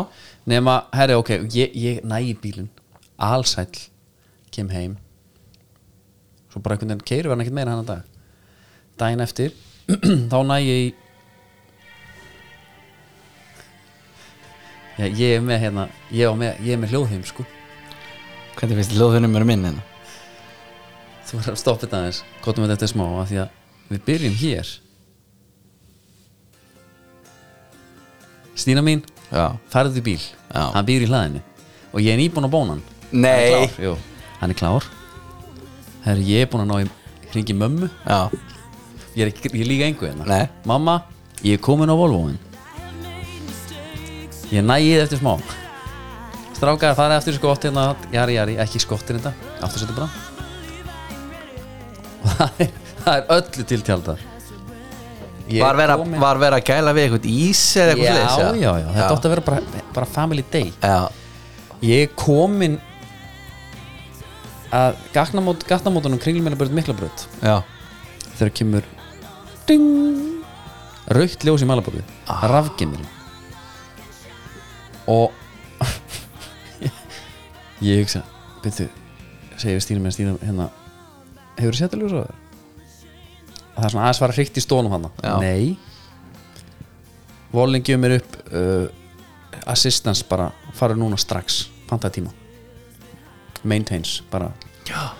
Speaker 1: nema, herri, ok, ég, ég nægi bílinn allsæll, kem heim svo bara einhvern veginn keiru hann ekkert meira hann að dag daginn eftir, þá nægi ég í- já, ég er með hérna, ég er með, ég er með hljóðheim, sko
Speaker 2: hvernig finnst hljóðunum er minn hérna
Speaker 1: þú verður að stoppa þetta aðeins kóttum við þetta smá af því að við byrjum hér Stína mín
Speaker 2: Já.
Speaker 1: farðu í bíl,
Speaker 2: Já.
Speaker 1: hann býr í hlaðinu og ég er nýbúin að bóna hann hann
Speaker 2: Nei.
Speaker 1: er klár, jú, hann er klár Herri, ég er búin að ná í hringi mömmu
Speaker 2: Já,
Speaker 1: ég er ekki, ég er líka engu hérna
Speaker 2: Nei.
Speaker 1: mamma, ég er komin á Volvoin ég næði eftir smá strákar farið eftir skott hérna jari jari, ekki skottir þetta aftur setja bara og það er, það er öllu til tjaldar Ég
Speaker 2: var
Speaker 1: er
Speaker 2: vera,
Speaker 1: komin-
Speaker 2: var vera að gæla við eitthvað ís eða eitthvað
Speaker 1: já,
Speaker 2: svoleiðis,
Speaker 1: já, já, þetta átti
Speaker 2: já.
Speaker 1: að vera bara, bara family day
Speaker 2: Já,
Speaker 1: ég er komin að gatnamót, gatnamótunum kringlumennabörð miklabröð
Speaker 2: já,
Speaker 1: þegar kemur ding, raukt ljós í malaborðu ah. rafgemirinn og ég hugsa byrju, segir Stína með Stína hérna, hefur þú setja ljós á þér? og það er svona aðeins var hrygt í stónum hann
Speaker 2: Já.
Speaker 1: nei Volning gefur mér upp uh, assistance bara fara núna strax, pantaði tíma maintains bara
Speaker 2: Já.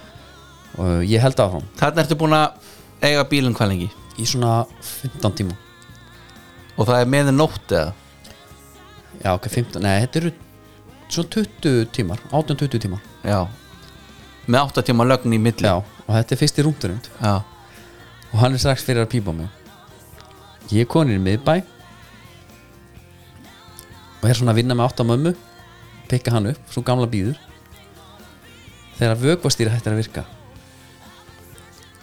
Speaker 1: og ég held áfram
Speaker 2: Þarna ertu búin að eiga bílinn hvað lengi
Speaker 1: í svona 15 tíma
Speaker 2: Og það er meðin nótt eða
Speaker 1: já ok, 15, nei þetta eru svona 20 tímar, 18-20 tímar
Speaker 2: Já Með átta tíma lögn í milli
Speaker 1: já, og þetta er fyrst í rúndurinn
Speaker 2: já,
Speaker 1: og hann er strax fyrir að pípa á mig ég er konin í miðbæ og er svona að vinna með 8 mömmu pikka hann upp, svo gamla býður þegar vökvastýri hættir að virka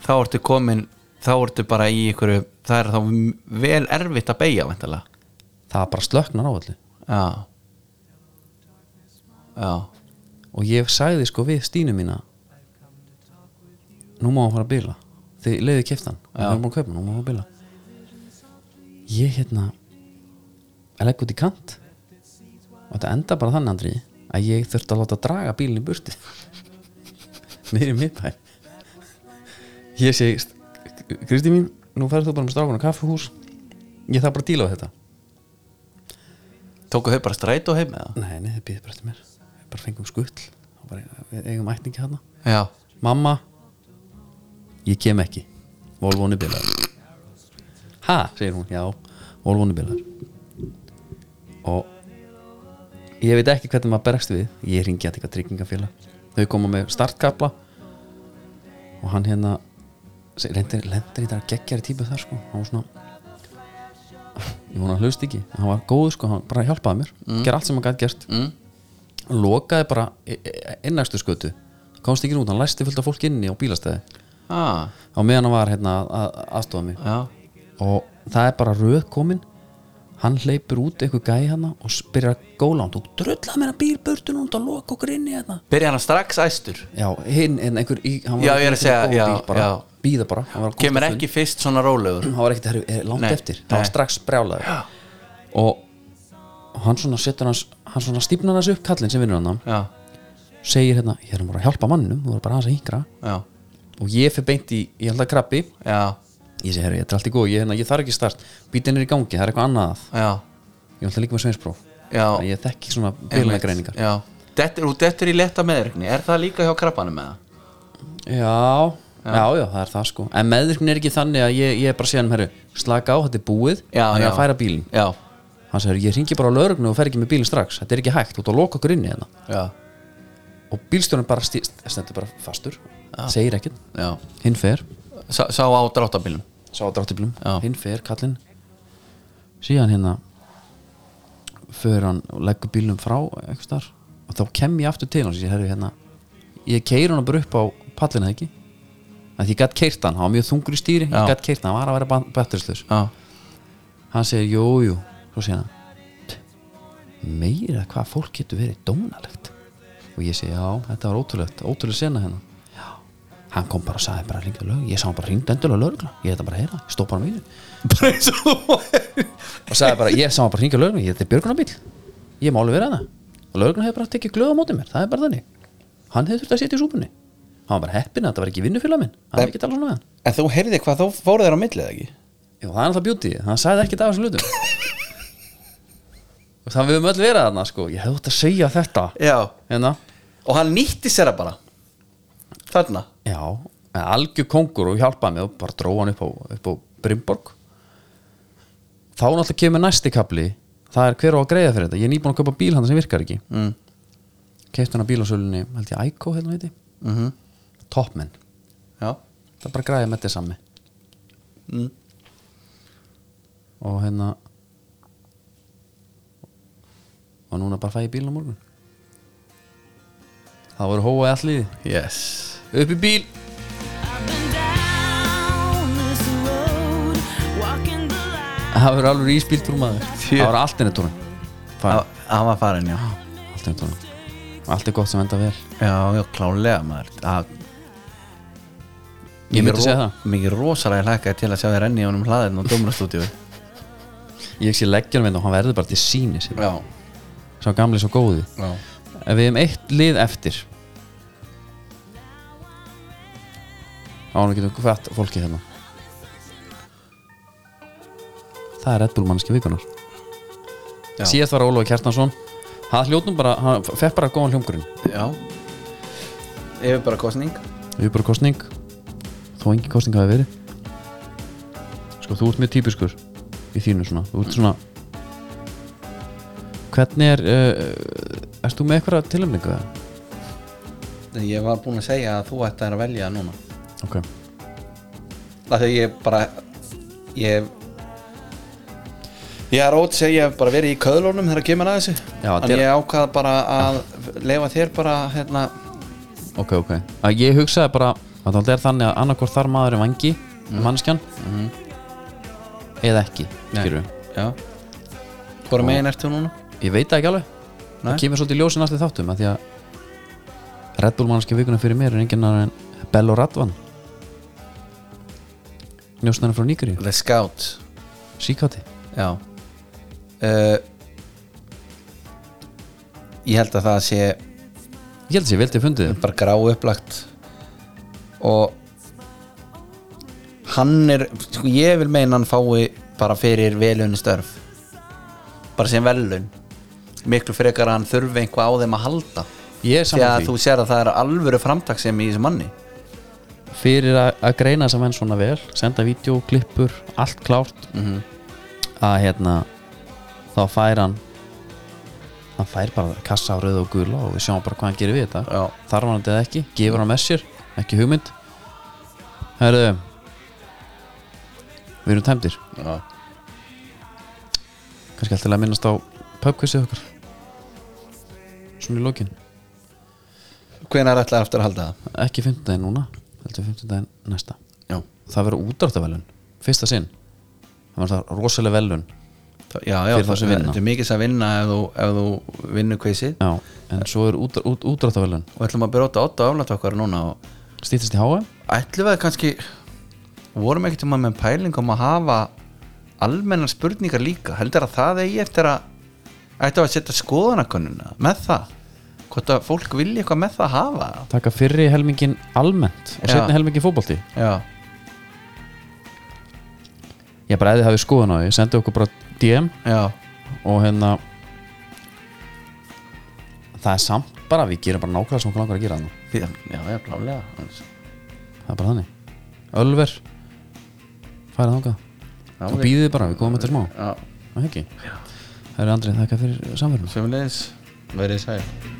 Speaker 2: Þá ertu komin, þá ertu bara í ykkur Það er þá m- vel erfitt að beigja væntanlega
Speaker 1: það bara slöknar á öllu
Speaker 2: Já Já
Speaker 1: og ég sagði sko við Stínu mína nú má hann fara að bila þið leiði keftan, hann er búin að kaupa hann, nú má hann fara að bila ég hérna að legg út í kant og þetta enda bara þannig Andri að ég þurfti að láta draga bílinn í burti niður í miðbæ ég segi Kristi mín, nú ferð þú bara með strákun á kaffihús ég þarf bara að díla á þetta
Speaker 2: Tóku þau bara strætó heim með það
Speaker 1: nei, nei, það býður bara eftir mér við bara fengum skull og bara, við eigum ætningi hana
Speaker 2: Já
Speaker 1: Mamma Ég kem ekki Volvon er bilaður Ha, segir hún, já Volvon er bilaður Og Ég veit ekki hvernig maður berst við Ég ringi að eitthvað tryggingafélag Þau koma með startkapla Og hann hérna Lendir, lendir í þetta geggjari típu þar sko Hann var svona Ég vona að hlust ekki, en hann var góð sko Hann bara hjálpaði mér, mm. ger allt sem hann gætt gert
Speaker 2: mm.
Speaker 1: lokaði bara e- innastu skötu komst ekki út, hann læsti fullt af fólk inni á bílastæði
Speaker 2: ah,
Speaker 1: á meðan hann var hérna að- að aðstofa mig
Speaker 2: Já
Speaker 1: og það er bara röð komin hann hleypur út eitthvað gæi hana og spyrir að góla hann, þú dröllaði mér að bíl burtu núna og loka okkur inni hérna
Speaker 2: Byrja hana strax æstur
Speaker 1: já, hinn, en einhver í, hann
Speaker 2: Já, ég er að segja, já, já.
Speaker 1: býða bara, hann var að komast
Speaker 2: Kemur
Speaker 1: á fund.
Speaker 2: ekki fyrst svona rólegur
Speaker 1: hann var ekkert herru, er langt
Speaker 2: Nei,
Speaker 1: eftir hann var
Speaker 2: nei.
Speaker 1: strax brjálaður og, og hann svona setur hans hann svona stífnar hans upp kallinn sem vinnur hann
Speaker 2: Já,
Speaker 1: segir hérna, ég erum bara að hjálpa mannum þú voru bara aðeins að hingra
Speaker 2: já,
Speaker 1: og ég fyrir beint í, ég held að krabbi
Speaker 2: já,
Speaker 1: ég segi, herru, þetta er allt í góð, ég, hérna, ég þarf ekki start bítin er í gangi, það er eitthvað annað að.
Speaker 2: já,
Speaker 1: ég ætla líka með sveinspróf
Speaker 2: já.
Speaker 1: Þannig að ég þekki svona bilagreiningar
Speaker 2: Já, dettur, og dettur í letta meðvirkni Er það líka hjá krabbanum með það?
Speaker 1: já, já, já, það er það sko en meðvirknin er ekki þannig að ég, ég er bara séðan herru, slaka á, þetta er búið
Speaker 2: Já,
Speaker 1: hann er
Speaker 2: já.
Speaker 1: að færa bílinn
Speaker 2: Já,
Speaker 1: hann segir, ég ringi bara á lögregnu og fer ekki með bílinn strax þetta er ekki hægt, þú ert að loka okkur inni hérna
Speaker 2: já,
Speaker 1: og bílstjórnum bara stí- stendur bara fastur segir ekkert,
Speaker 2: já
Speaker 1: hinn fer
Speaker 2: Sá, sá á dráttabilum
Speaker 1: sá dráttiblum,
Speaker 2: Já.
Speaker 1: hinn fer kallinn síðan hérna fyrir hann og leggur bílnum frá einhvers staðar, og þá kem ég aftur til hans ég herri hérna ég keir hann bara upp á pallina ekki að ég gætt keirt hann, hann var mjög þungur í stýri
Speaker 2: Já.
Speaker 1: ég gætt keirt hann, hann var að vera beturislaus
Speaker 2: Já,
Speaker 1: hann segir jú, jú, svo segir hann "Tch, meira hvað fólk getur verið dónalegt og ég segi já, þetta var ótrúlegt ótrúlega sena hennan hann kom bara og sagði bara ringdu lög ég sá hann bara ringdu endilega lögregla ég þetta bara að heyra, ég stóð bara mjög
Speaker 2: bara eins og þú
Speaker 1: og sagði bara, ég sá hann bara hringa lögreglu ég, þetta er björgunarbíl, ég má alveg vera hana og lögreglan hefur bara tekið glöð á móti mér, það er bara þannig hann hefur þurft að sitja í súpunni hann var bara heppin að þetta var ekki vinnufélag minn hann hefði ekki talað svona við hann
Speaker 2: En þú heyrði hvað þá fóru þeir á millið ekki?
Speaker 1: Jú, það er alltaf beauty, hann sagði ekki það af þessum hlutum og þannig við höfum öll verið þarna sko, ég hefði út að segja þetta
Speaker 2: Já,
Speaker 1: hérna,
Speaker 2: og hann nýtti sér það bara Þarna
Speaker 1: já algjör kongur og hjálpaði mig og bara dróð hann upp á, upp á Brimborg þá náttúrulega kemur næsti kapli það er hver á að greiða fyrir þetta ég er nýbúin að kaupa bíl hann sem virkar ekki
Speaker 2: Mm.
Speaker 1: kefti hann á bílasölunni, held ég Aiko hérna veiti,
Speaker 2: Mm
Speaker 1: toppmenn
Speaker 2: Já,
Speaker 1: það er bara græði með þetta sami
Speaker 2: mm.
Speaker 1: og hérna og núna bara fæ ég bílinn á morgun það voru hóa í allir
Speaker 2: yes
Speaker 1: upp í bíl
Speaker 5: I've been down this road, walking the line.
Speaker 1: það voru alveg íspíltur maður
Speaker 2: Þjö.
Speaker 1: það voru alternatorinn
Speaker 2: Hann hann var farin, já
Speaker 1: alternatorinn allt er gott sem enda vel
Speaker 2: Já, já, klálega maður að,
Speaker 1: ég myndi segja það
Speaker 2: Mikið rosalega hlækkaði til að sjá þér renni í honum hlaðin og dómarastúdíu
Speaker 1: ég sé leggjanum hérna og hann verður bara til síni sér.
Speaker 2: Já,
Speaker 1: sá gamli svo góði
Speaker 2: já
Speaker 1: ef við hefum eitt lið eftir ánum getum hvert fólki hérna það er Red Bull mannski vikunar
Speaker 2: Já.
Speaker 1: síðast var Ólofi Kjartansson hann hljóttum bara, hann fekk bara góðan hljómgrunn
Speaker 2: Já Ef bara kostning
Speaker 1: við bara kostning þó engin kostning hafi verið sko þú ert mjög típiskur í þínu svona, þú ert svona hvernig er uh, erst þú með eitthvað tilöfningu það?
Speaker 2: Ég var búinn að segja að þú ætti að velja núna
Speaker 1: ok,
Speaker 2: Það þegar ég bara Ég Ég er ótt að segja, ég hef bara verið í köðlunum þegar kemur að þessu
Speaker 1: Já,
Speaker 2: En
Speaker 1: þetta er-
Speaker 2: ég ákvað bara að leifa þér bara hérna
Speaker 1: ok, ok að ég hugsaði bara að það er þannig að annarkvort þar maður er vangi
Speaker 2: Mhm.
Speaker 1: mm. mannskjan eða ekki, skilur
Speaker 2: Já Hvora megin ertu núna?
Speaker 1: ég veit það ekki alveg
Speaker 2: Nei.
Speaker 1: það kemur svolítið ljósin allir þáttum að því að Red Bull mannskja vikuna fyrir mér er enginn annar en Bello Radvan njósnarinn frá Nýgri
Speaker 2: The Scout
Speaker 1: síkáti
Speaker 2: Já uh, Ég held að það sé
Speaker 1: ég held að sé vel til fundið
Speaker 2: bara grá upplagt og hann er sko, ég vil meina hann fái bara fyrir velunni störf bara sem velun miklu frekar að hann þurfi einhvað á þeim að halda
Speaker 1: ég er
Speaker 2: því að
Speaker 1: saman
Speaker 2: þú
Speaker 1: því
Speaker 2: sér að það er alvöru framtaksemi í þessu manni
Speaker 1: fyrir að að greina þess að menn svona vel senda vídeo, klippur, allt klárt að hérna þá fær hann hann fær bara kassa á rauða og gula og við sjáum bara hvað hann gerir við þetta
Speaker 2: Já.
Speaker 1: þarf hann þetta eða ekki, gefur hann með sér ekki hugmynd herðu við erum tæmdir
Speaker 2: Já.
Speaker 1: kannski alltaf að minnast á pubquizið okkar svona í lokin
Speaker 2: hvenær ætlar aftur að halda það?
Speaker 1: ekki 15 daginn núna, heldur 15 daginn næsta
Speaker 2: Já,
Speaker 1: það verður útráttavelun, fyrsta sinn það verður það rosalega velun
Speaker 2: það- já, já
Speaker 1: Fyrir þá sem vinna.
Speaker 2: þetta er mikið að vinna ef þú, ef þú vinnur kvisið
Speaker 1: já, en svo er út, út, útráttavelun
Speaker 2: og ætlum að byrjóta 8 aflætt okkar núna og
Speaker 1: stýttist í HM
Speaker 2: ætlum við kannski vorum ekkert um að með pæling um að hafa almennar spurningar líka heldur að það eigi eftir að ættu að setja skoðanakönnuna með það hvort að fólk vilji eitthvað með það hafa
Speaker 1: taka fyrri helmingin almennt og
Speaker 2: Já.
Speaker 1: setni helmingin fótbolti
Speaker 2: já,
Speaker 1: ég bara eða hafið skoðan á því, sendi okkur bara DM
Speaker 2: já,
Speaker 1: og hérna það er samt bara, við gerum bara nákvæmlega sem okkur langar að gera þannig,
Speaker 2: já, já, já klálega Annars-
Speaker 1: það er bara þannig Ölver færa þangað
Speaker 2: já,
Speaker 1: og býðið bara, við komum þetta smá
Speaker 2: já,
Speaker 1: það er ekki, það er Andrið þakka fyrir samverðum
Speaker 2: sömulegis verið sæl